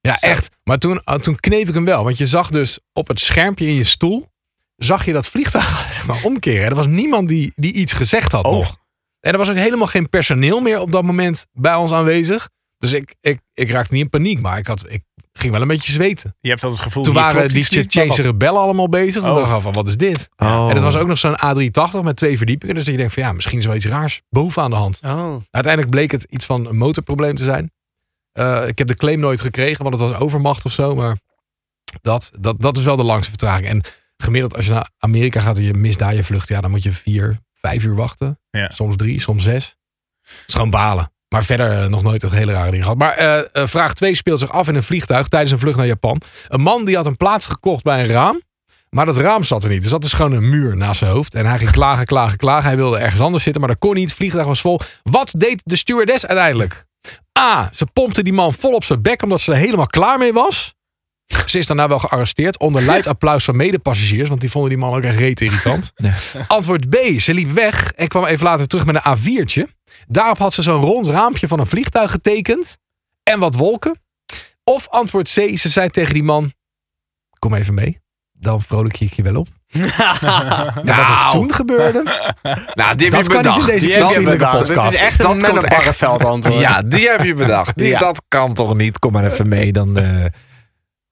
[SPEAKER 1] Ja, echt. Maar toen, ah, toen kneep ik hem wel. Want je zag dus op het schermpje in je stoel... zag je dat vliegtuig zeg maar, omkeren. En er was niemand die, die iets gezegd had
[SPEAKER 4] Oh.
[SPEAKER 1] nog. En er was ook helemaal geen personeel meer op dat moment bij ons aanwezig. Dus ik, ik, ik raakte niet in paniek, maar ik, had, ik ging wel een beetje zweten.
[SPEAKER 4] Je hebt dan het gevoel
[SPEAKER 1] Toen
[SPEAKER 4] hier
[SPEAKER 1] waren
[SPEAKER 4] klopt
[SPEAKER 1] die
[SPEAKER 4] iets niet, maar
[SPEAKER 1] Tsjechische rebellen allemaal bezig. Toen
[SPEAKER 4] Oh.
[SPEAKER 1] dacht ik van, wat is dit?
[SPEAKER 2] Oh.
[SPEAKER 1] En dat was ook nog zo'n A380 met twee verdiepingen. Dus dat je denkt van, ja, misschien is wel iets raars boven aan de hand.
[SPEAKER 3] Oh.
[SPEAKER 1] Uiteindelijk bleek het iets van een motorprobleem te zijn. Eh, ik heb de claim nooit gekregen, want het was overmacht of zo. Maar dat, dat, dat is wel de langste vertraging. En gemiddeld als je naar Amerika gaat en je mist daar je vlucht, ja, dan moet je vier, vijf uur wachten.
[SPEAKER 4] Ja.
[SPEAKER 1] Soms drie, soms zes. Het is gewoon balen. Maar verder eh, nog nooit echt hele rare dingen gehad. Maar eh, eh, vraag 2 speelt zich af in een vliegtuig tijdens een vlucht naar Japan. Een man die had een plaats gekocht bij een raam. Maar dat raam zat er niet. Dus dat is gewoon een muur naast zijn hoofd. En hij ging klagen, klagen, klagen. Hij wilde ergens anders zitten, maar dat kon niet. Het vliegtuig was vol. Wat deed de stewardess uiteindelijk? A. Ze pompte die man vol op zijn bek omdat ze er helemaal klaar mee was. Ze is daarna wel gearresteerd onder luid applaus van medepassagiers. Want die vonden die man ook echt reet irritant. Antwoord B. Ze liep weg en kwam even later terug met een A4'tje. Daarop had ze zo'n rond raampje van een vliegtuig getekend. En wat wolken. Of antwoord C. Ze zei tegen die man. Kom even mee. Dan vrolijk ik je wel op. En wat er
[SPEAKER 2] Nou.
[SPEAKER 1] toen gebeurde.
[SPEAKER 2] Nou, die heb
[SPEAKER 1] Dat kan
[SPEAKER 2] je
[SPEAKER 1] niet in
[SPEAKER 2] bedacht.
[SPEAKER 1] deze
[SPEAKER 2] Die
[SPEAKER 1] klas
[SPEAKER 2] heb
[SPEAKER 1] in
[SPEAKER 2] je
[SPEAKER 1] de
[SPEAKER 2] bedacht.
[SPEAKER 1] podcast.
[SPEAKER 3] Het is echt
[SPEAKER 2] Dat
[SPEAKER 3] een
[SPEAKER 2] komt
[SPEAKER 3] met een
[SPEAKER 2] echt.
[SPEAKER 3] barreveld antwoord.
[SPEAKER 2] Ja, die heb je bedacht. Die,
[SPEAKER 3] Ja.
[SPEAKER 2] Dat kan toch niet? Kom maar even mee. Dan, eh,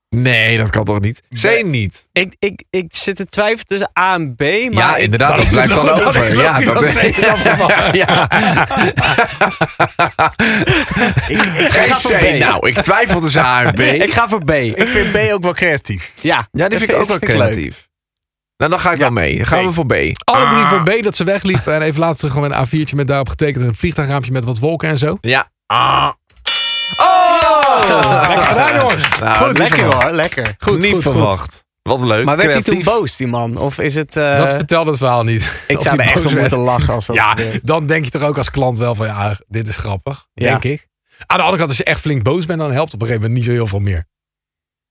[SPEAKER 2] Nee, dat kan toch niet? Zij niet.
[SPEAKER 3] Ik, ik, ik zit te twijfelen tussen A en B, maar
[SPEAKER 2] ja,
[SPEAKER 3] ik-
[SPEAKER 2] inderdaad. Dat, blijft dan
[SPEAKER 1] dat is
[SPEAKER 2] over.
[SPEAKER 1] logisch
[SPEAKER 2] ja,
[SPEAKER 1] dat C is
[SPEAKER 2] ja, ja.
[SPEAKER 3] ik, ik
[SPEAKER 2] Geen
[SPEAKER 3] ga voor
[SPEAKER 2] C.
[SPEAKER 3] B.
[SPEAKER 2] Nou, ik twijfel tussen A en B.
[SPEAKER 3] Ik ga voor B.
[SPEAKER 4] Ik vind B ook wel creatief.
[SPEAKER 3] Ja,
[SPEAKER 2] Ja, die
[SPEAKER 3] dat
[SPEAKER 2] vind ik ook wel
[SPEAKER 3] dat leuk.
[SPEAKER 2] creatief. Nou, dan ga ik wel mee. Dan gaan we
[SPEAKER 4] B.
[SPEAKER 2] voor B.
[SPEAKER 3] Ah.
[SPEAKER 1] Alle drie voor B dat ze wegliep. En even later terug gewoon een A4'tje met daarop getekend. Een vliegtuigraampje met wat wolken en zo.
[SPEAKER 2] Ja. Oh!
[SPEAKER 1] Lekker gedaan, jongens.
[SPEAKER 2] Nou,
[SPEAKER 1] Goed,
[SPEAKER 2] lekker hoor.
[SPEAKER 3] lekker.
[SPEAKER 1] Goed,
[SPEAKER 2] niet
[SPEAKER 1] goed, goed.
[SPEAKER 2] verwacht. Wat leuk.
[SPEAKER 3] Maar werd hij toen
[SPEAKER 2] creatief.
[SPEAKER 3] boos, die man? Of is het... eh,
[SPEAKER 1] Dat vertelde het verhaal niet.
[SPEAKER 3] ik
[SPEAKER 1] Of
[SPEAKER 3] zou
[SPEAKER 1] die
[SPEAKER 3] er echt
[SPEAKER 1] boos
[SPEAKER 3] om
[SPEAKER 1] werd.
[SPEAKER 3] moeten lachen als dat
[SPEAKER 1] Ja,
[SPEAKER 3] gebeurt.
[SPEAKER 1] dan denk je toch ook als klant wel van ja, dit is grappig.
[SPEAKER 3] Ja.
[SPEAKER 1] Denk ik. Aan de andere kant, als je echt flink boos bent, dan helpt op een gegeven moment niet zo heel veel meer.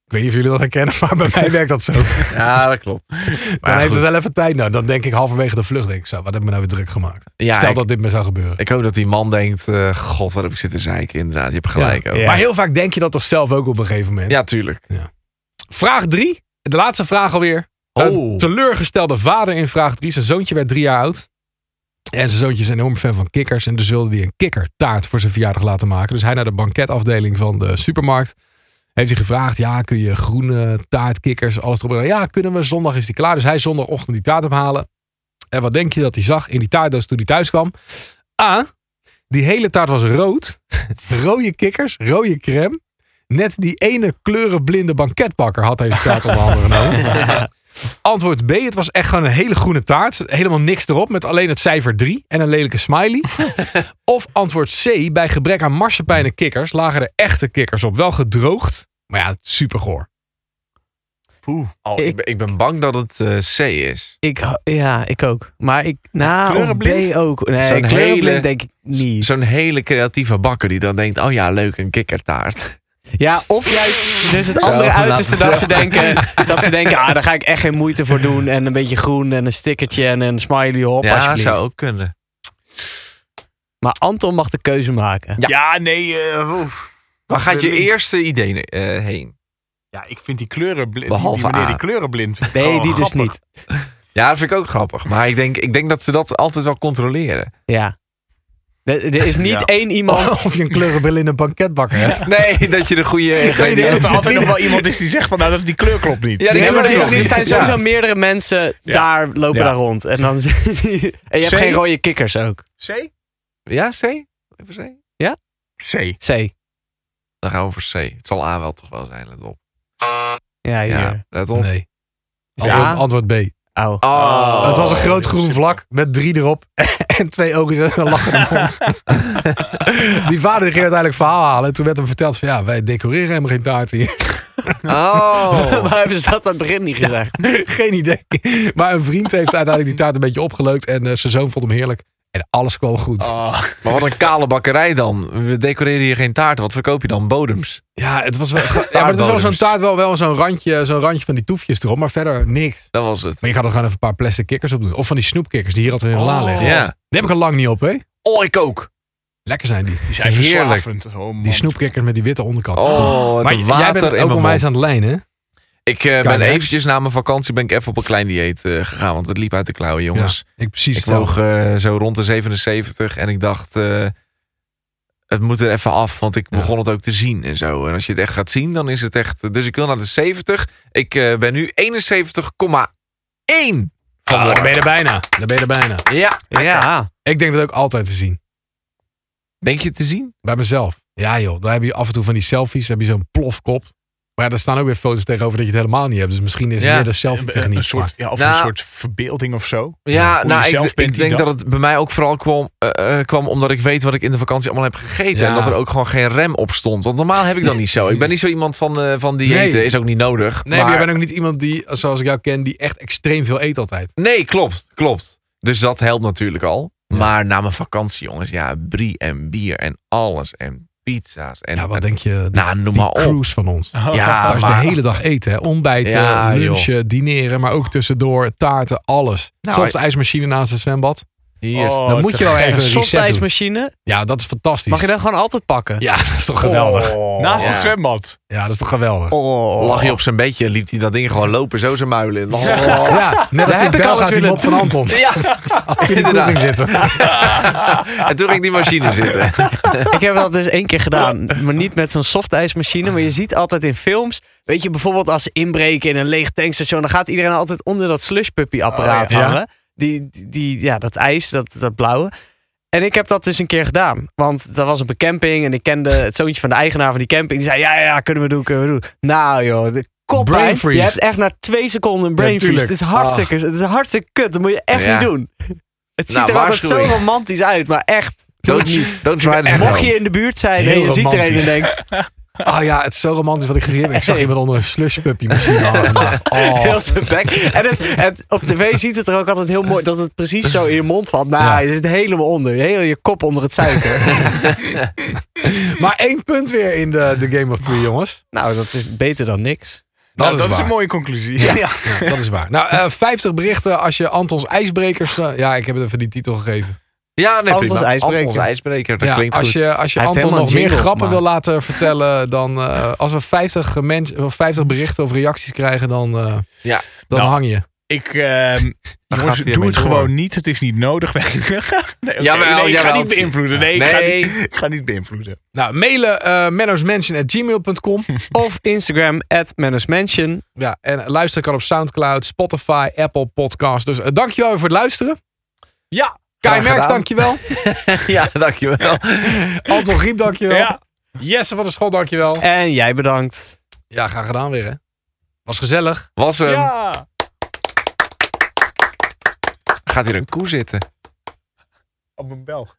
[SPEAKER 1] Ik weet niet of jullie dat herkennen, maar bij mij werkt dat zo.
[SPEAKER 2] Ja, dat klopt.
[SPEAKER 1] Dan
[SPEAKER 2] Maar
[SPEAKER 1] heeft
[SPEAKER 2] goed.
[SPEAKER 1] het wel even tijd. Nou, dan denk ik halverwege de vlucht, denk ik zo. Wat heb ik me nou weer druk gemaakt?
[SPEAKER 2] Ja,
[SPEAKER 1] Stel
[SPEAKER 2] ik-
[SPEAKER 1] dat dit me zou gebeuren.
[SPEAKER 2] Ik hoop dat die man denkt, eh, god, wat heb ik zitten zeiken. Inderdaad, je hebt gelijk. ook.
[SPEAKER 3] Ja.
[SPEAKER 1] Maar heel vaak denk je dat toch zelf ook op een gegeven moment.
[SPEAKER 2] Ja, tuurlijk.
[SPEAKER 1] Vraag drie. De laatste vraag alweer. Een
[SPEAKER 2] Oh.
[SPEAKER 1] teleurgestelde vader in vraag drie. Zijn zoontje werd drie jaar oud. En zijn zoontje is een enorm fan van kikkers. En dus wilde hij een kikkertaart voor zijn verjaardag laten maken. Dus hij naar de banketafdeling van de supermarkt. Heeft hij gevraagd, ja, kun je groene taart, kikkers, alles erop en eraan? Ja, kunnen we. Zondag is die klaar. Dus hij zondagochtend die taart ophalen. En wat denk je dat hij zag in die taartdoos toen hij thuis kwam? A, die hele taart was rood. Rode kikkers, rode crème. Net die ene kleurenblinde banketbakker had deze taart op de handen genomen. Antwoord B, het was echt gewoon een hele groene taart. Helemaal niks erop, met alleen het cijfer 3 en een lelijke smiley. Of antwoord C, bij gebrek aan marsepein en kikkers lagen er echte kikkers op. Wel gedroogd, maar ja, supergoor.
[SPEAKER 2] Oh, ik,
[SPEAKER 3] Ik-
[SPEAKER 2] ben, ik ben bang dat het eh, C is.
[SPEAKER 3] Ik, ho- ja, ik ook. Maar ik, nou, of
[SPEAKER 2] Kleurenblind?
[SPEAKER 3] B ook. Nee,
[SPEAKER 2] Zo'n
[SPEAKER 3] kleurenblind
[SPEAKER 2] hele-
[SPEAKER 3] denk ik niet.
[SPEAKER 2] Zo'n hele creatieve bakker die dan denkt, oh ja, leuk, een kikkertaart.
[SPEAKER 3] Ja, of juist dus het
[SPEAKER 2] Zo,
[SPEAKER 3] andere
[SPEAKER 2] laat
[SPEAKER 3] uiterste
[SPEAKER 2] het.
[SPEAKER 3] dat ze denken, dat ze denken ah, daar ga ik echt geen moeite voor doen. En een beetje groen en een stickertje en een smiley hop
[SPEAKER 2] ja,
[SPEAKER 3] alsjeblieft.
[SPEAKER 2] zou ook kunnen.
[SPEAKER 3] Maar Anton mag de keuze maken.
[SPEAKER 2] Ja.
[SPEAKER 4] Ja, nee. eh, oef.
[SPEAKER 2] Waar gaat je
[SPEAKER 4] Link.
[SPEAKER 2] eerste idee eh, heen?
[SPEAKER 4] Ja, ik vind die kleurenblind.
[SPEAKER 2] Behalve
[SPEAKER 4] die, die meneer
[SPEAKER 2] A.
[SPEAKER 4] die kleurenblind. vind ik
[SPEAKER 3] Nee,
[SPEAKER 2] Oh,
[SPEAKER 4] wel
[SPEAKER 3] die dus
[SPEAKER 4] grappig.
[SPEAKER 3] niet.
[SPEAKER 2] Ja, dat vind ik ook grappig. Maar ik denk, ik denk dat ze dat altijd wel controleren.
[SPEAKER 3] Ja. Er, er is niet
[SPEAKER 4] Ja.
[SPEAKER 3] één iemand.
[SPEAKER 2] Oh,
[SPEAKER 1] Of je een kleurenblinde banketbakker hebt.
[SPEAKER 2] Nee, dat je de goede
[SPEAKER 4] Ik denk dat
[SPEAKER 2] ingrediënten
[SPEAKER 4] er altijd nog wel iemand is die zegt van nou, dat die kleur klopt niet.
[SPEAKER 2] Ja, die
[SPEAKER 3] Nee, maar
[SPEAKER 2] dat
[SPEAKER 3] er,
[SPEAKER 2] klopt
[SPEAKER 3] er
[SPEAKER 2] niet.
[SPEAKER 3] zijn
[SPEAKER 2] Ja.
[SPEAKER 3] sowieso meerdere mensen
[SPEAKER 4] Ja.
[SPEAKER 3] daar lopen
[SPEAKER 4] Ja.
[SPEAKER 3] daar rond. En, dan, en je hebt
[SPEAKER 4] C?
[SPEAKER 3] geen rode kikkers ook.
[SPEAKER 4] C?
[SPEAKER 2] Ja, C? Even C?
[SPEAKER 4] C.
[SPEAKER 3] C.
[SPEAKER 2] Dan gaan we voor C. Het zal A wel toch wel zijn, let op.
[SPEAKER 3] Ja, hier.
[SPEAKER 2] Ja, let op.
[SPEAKER 1] Nee.
[SPEAKER 3] Is het A?
[SPEAKER 1] Antwoord, antwoord B.
[SPEAKER 3] Au.
[SPEAKER 2] Oh.
[SPEAKER 1] het was een groot
[SPEAKER 4] die
[SPEAKER 1] groen
[SPEAKER 4] was
[SPEAKER 1] vlak met drie erop en twee oogjes en een lachende mond. die vader ging uiteindelijk verhaal halen. En toen werd hem verteld van ja, wij decoreren helemaal geen taart hier.
[SPEAKER 2] Oh.
[SPEAKER 3] Waarom hebben ze dat aan het begin niet gezegd?
[SPEAKER 1] geen idee. Maar een vriend heeft uiteindelijk die taart een beetje opgeleukt. En eh, zijn zoon vond hem heerlijk. En alles kwam goed.
[SPEAKER 2] Oh.
[SPEAKER 4] Ah,
[SPEAKER 2] Maar wat een kale bakkerij dan. We decoreren hier geen taarten. Wat verkoop je dan? Bodems.
[SPEAKER 1] Ja, het was wel, ja, maar het is wel zo'n
[SPEAKER 2] Taartbodems.
[SPEAKER 1] taart, wel, wel zo'n randje, zo'n randje van die toefjes erop. Maar verder niks.
[SPEAKER 2] Dat was het.
[SPEAKER 1] Maar je gaat er gewoon even een paar plastic kikkers op doen. Of van die snoepkikkers die hier altijd in de
[SPEAKER 2] Oh.
[SPEAKER 1] la liggen.
[SPEAKER 2] Ja.
[SPEAKER 1] Die heb ik al lang niet op, hè?
[SPEAKER 2] Oh, ik ook.
[SPEAKER 1] Lekker zijn die.
[SPEAKER 4] Die zijn
[SPEAKER 2] Heerlijk.
[SPEAKER 4] verslavend. Oh, man.
[SPEAKER 1] Die snoepkikkers met die witte onderkant.
[SPEAKER 2] Oh,
[SPEAKER 1] maar
[SPEAKER 2] het
[SPEAKER 1] j- jij
[SPEAKER 2] water
[SPEAKER 1] bent
[SPEAKER 2] in
[SPEAKER 1] ook
[SPEAKER 2] mijn
[SPEAKER 1] onwijs aan
[SPEAKER 2] mond.
[SPEAKER 1] het lijnen. hè?
[SPEAKER 2] Ik eh, ben
[SPEAKER 1] Koude
[SPEAKER 2] eventjes na mijn vakantie ben ik even op een klein dieet eh, gegaan. Want het liep uit de klauwen, jongens.
[SPEAKER 1] Ik precies
[SPEAKER 2] ik
[SPEAKER 1] zo.
[SPEAKER 2] woog eh, zo rond de 77 en ik dacht... eh, het moet er even af, want ik
[SPEAKER 1] Ja.
[SPEAKER 2] begon het ook te zien en zo. En als je het echt gaat zien, dan is het echt... Dus ik wil naar de 70. Ik eh, ben nu 71,1.
[SPEAKER 1] Ah, dan ben je er bijna. Dan ben je er bijna.
[SPEAKER 2] Ja.
[SPEAKER 3] Ja.
[SPEAKER 1] Ik denk dat ook altijd te zien.
[SPEAKER 2] Denk je het te zien?
[SPEAKER 1] Bij mezelf. Ja joh, dan heb je af en toe van die selfies, dan heb je zo'n plofkop. Maar ja, daar staan ook weer foto's tegenover dat je het helemaal niet hebt. Dus misschien is het
[SPEAKER 2] Ja.
[SPEAKER 1] meer de selfie
[SPEAKER 4] Een,
[SPEAKER 1] techniek.
[SPEAKER 4] een soort, ja, of
[SPEAKER 2] Nou.
[SPEAKER 4] een soort verbeelding of zo.
[SPEAKER 2] Ja,
[SPEAKER 4] Hoe je
[SPEAKER 2] nou,
[SPEAKER 4] zelf
[SPEAKER 2] ik,
[SPEAKER 4] bent
[SPEAKER 2] ik
[SPEAKER 4] die
[SPEAKER 2] denk
[SPEAKER 4] dag.
[SPEAKER 2] dat het bij mij ook vooral kwam, eh, eh, kwam omdat ik weet wat ik in de vakantie allemaal heb gegeten.
[SPEAKER 1] Ja.
[SPEAKER 2] En dat er ook gewoon geen rem op stond. Want normaal heb ik dat niet zo. Ik ben niet zo iemand van, eh, van diëten.
[SPEAKER 1] Nee.
[SPEAKER 2] Is ook niet nodig.
[SPEAKER 1] nee, maar
[SPEAKER 2] maar-
[SPEAKER 1] jij bent ook niet iemand die, zoals ik jou ken, die echt extreem veel eet altijd.
[SPEAKER 2] nee, klopt. Klopt. Dus dat helpt natuurlijk al.
[SPEAKER 1] Ja.
[SPEAKER 2] Maar na mijn vakantie, jongens, ja, brie en bier en alles. En pizza's. En,
[SPEAKER 1] ja, wat
[SPEAKER 2] en-
[SPEAKER 1] denk je? Die,
[SPEAKER 2] nou, noem
[SPEAKER 1] die
[SPEAKER 2] maar op.
[SPEAKER 1] cruise van ons.
[SPEAKER 2] Ja,
[SPEAKER 1] Als je
[SPEAKER 2] maar-
[SPEAKER 1] de hele dag eet, hè? ontbijten,
[SPEAKER 2] Ja, joh.
[SPEAKER 1] lunchen, dineren, maar ook tussendoor taarten, alles.
[SPEAKER 2] Nou,
[SPEAKER 1] Soft ijsmachine naast het zwembad.
[SPEAKER 2] Hier.
[SPEAKER 4] Oh,
[SPEAKER 1] dan moet je wel
[SPEAKER 4] terecht.
[SPEAKER 1] even een reset doen.
[SPEAKER 3] Softijsmachine.
[SPEAKER 1] Ja, dat is fantastisch.
[SPEAKER 3] Mag je dan gewoon altijd pakken?
[SPEAKER 1] Ja, dat is toch geweldig.
[SPEAKER 4] Oh. Naast
[SPEAKER 2] Ja.
[SPEAKER 4] het zwembad.
[SPEAKER 1] Ja, dat is toch geweldig.
[SPEAKER 3] Oh.
[SPEAKER 2] Lag hij op zijn bedje en liep hij dat ding gewoon lopen, zo zijn muilen in.
[SPEAKER 1] Ja, net als
[SPEAKER 2] heb
[SPEAKER 1] die
[SPEAKER 2] ik
[SPEAKER 1] bel
[SPEAKER 2] alles
[SPEAKER 1] gaat die
[SPEAKER 2] willen
[SPEAKER 1] mop van Anton.
[SPEAKER 2] Ja,
[SPEAKER 1] Toen die
[SPEAKER 2] inderdaad.
[SPEAKER 1] koffie zitten.
[SPEAKER 2] En toen ging die machine zitten.
[SPEAKER 3] Ik heb dat dus één keer gedaan. Maar niet met zo'n softijsmachine. Maar je ziet altijd in films. Weet je, bijvoorbeeld als ze inbreken in een leeg tankstation. Dan gaat iedereen altijd onder dat slushpuppy apparaat
[SPEAKER 1] Oh, ja.
[SPEAKER 3] hangen. Die, die, ja, dat ijs, dat, dat blauwe. En ik heb dat dus een keer gedaan. Want dat was op een camping. En ik kende het zoontje van de eigenaar van die camping. Die zei, ja, ja, ja, kunnen we doen, kunnen we doen. Nou joh, de koppijn.
[SPEAKER 1] Brain freeze.
[SPEAKER 3] Je hebt echt na twee seconden een brain
[SPEAKER 1] Ja,
[SPEAKER 3] freeze.
[SPEAKER 1] tuurlijk.
[SPEAKER 3] Het is hartstikke, het is hartstikke kut. Dat moet je echt
[SPEAKER 2] Ja.
[SPEAKER 3] niet doen. Het ziet
[SPEAKER 2] Nou,
[SPEAKER 3] er altijd zo
[SPEAKER 2] waarschuwing.
[SPEAKER 3] romantisch uit. Maar echt, doe het niet.
[SPEAKER 2] Don't, don't try this at
[SPEAKER 3] Mocht
[SPEAKER 2] home.
[SPEAKER 3] je in de buurt zijn en
[SPEAKER 1] Heel
[SPEAKER 3] je ziet er een en
[SPEAKER 1] romantisch.
[SPEAKER 3] denkt...
[SPEAKER 1] Ah ja, het is zo romantisch wat ik gezien heb. Ik zag iemand onder een slushpuppy machine hangen vandaag. Oh.
[SPEAKER 3] Heel zijn bek. En het, het- op tv ziet het er ook altijd heel mooi dat het precies zo in je mond valt. Maar
[SPEAKER 1] Ja.
[SPEAKER 3] je zit helemaal onder. Heel je kop onder het suiker.
[SPEAKER 1] Maar één punt weer in de, de Game of Three, jongens.
[SPEAKER 3] nou, dat is beter dan niks.
[SPEAKER 1] Dat,
[SPEAKER 4] Nou,
[SPEAKER 1] is, waar.
[SPEAKER 4] een mooie conclusie. Ja.
[SPEAKER 1] Ja, dat is waar. Nou, eh, 50 berichten als je Antons IJsbrekers... eh, ja, ik heb het even die titel gegeven.
[SPEAKER 2] Ja, nee,
[SPEAKER 3] Antons
[SPEAKER 2] prima.
[SPEAKER 3] ijsbreker.
[SPEAKER 2] Antons ijsbreker, dat
[SPEAKER 1] ja,
[SPEAKER 2] klinkt
[SPEAKER 1] als
[SPEAKER 2] goed.
[SPEAKER 1] je, als je
[SPEAKER 3] Hij
[SPEAKER 1] Anton
[SPEAKER 3] heeft helemaal
[SPEAKER 1] nog meer
[SPEAKER 3] jingles
[SPEAKER 1] grappen wil
[SPEAKER 3] gemaakt.
[SPEAKER 1] laten vertellen... dan eh, als we 50, mensen of 50 berichten of reacties krijgen... dan, eh,
[SPEAKER 2] Ja.
[SPEAKER 1] dan
[SPEAKER 4] Nou.
[SPEAKER 1] hang je.
[SPEAKER 4] Ik, ehm jongens,
[SPEAKER 2] gaat hij
[SPEAKER 4] doe
[SPEAKER 2] ermee
[SPEAKER 4] het
[SPEAKER 2] door.
[SPEAKER 4] gewoon niet. Het is niet nodig. Nee, oké,
[SPEAKER 2] Jawel,
[SPEAKER 4] nee, ik ga
[SPEAKER 2] jawel.
[SPEAKER 4] niet beïnvloeden. Nee, Ik, ga
[SPEAKER 2] Nee.
[SPEAKER 4] niet, ik ga niet beïnvloeden.
[SPEAKER 1] Nou, mailen eh mennosmansion@gmail.com.
[SPEAKER 3] Of Instagram, at management.
[SPEAKER 1] Ja, en luisteren kan op Soundcloud, Spotify, Apple Podcast. Dus eh, dankjewel voor het luisteren.
[SPEAKER 4] Ja.
[SPEAKER 1] Kai
[SPEAKER 2] Graag
[SPEAKER 1] Merks,
[SPEAKER 2] gedaan.
[SPEAKER 1] dankjewel.
[SPEAKER 2] Ja, dankjewel.
[SPEAKER 1] Anton Griep, dankjewel.
[SPEAKER 4] Ja.
[SPEAKER 1] Jesse van de Schot, dankjewel.
[SPEAKER 3] En jij bedankt.
[SPEAKER 1] Ja, graag gedaan weer, hè. Was gezellig.
[SPEAKER 2] Was hem.
[SPEAKER 4] ja.
[SPEAKER 2] Gaat hier een koe zitten?
[SPEAKER 4] Op een bel.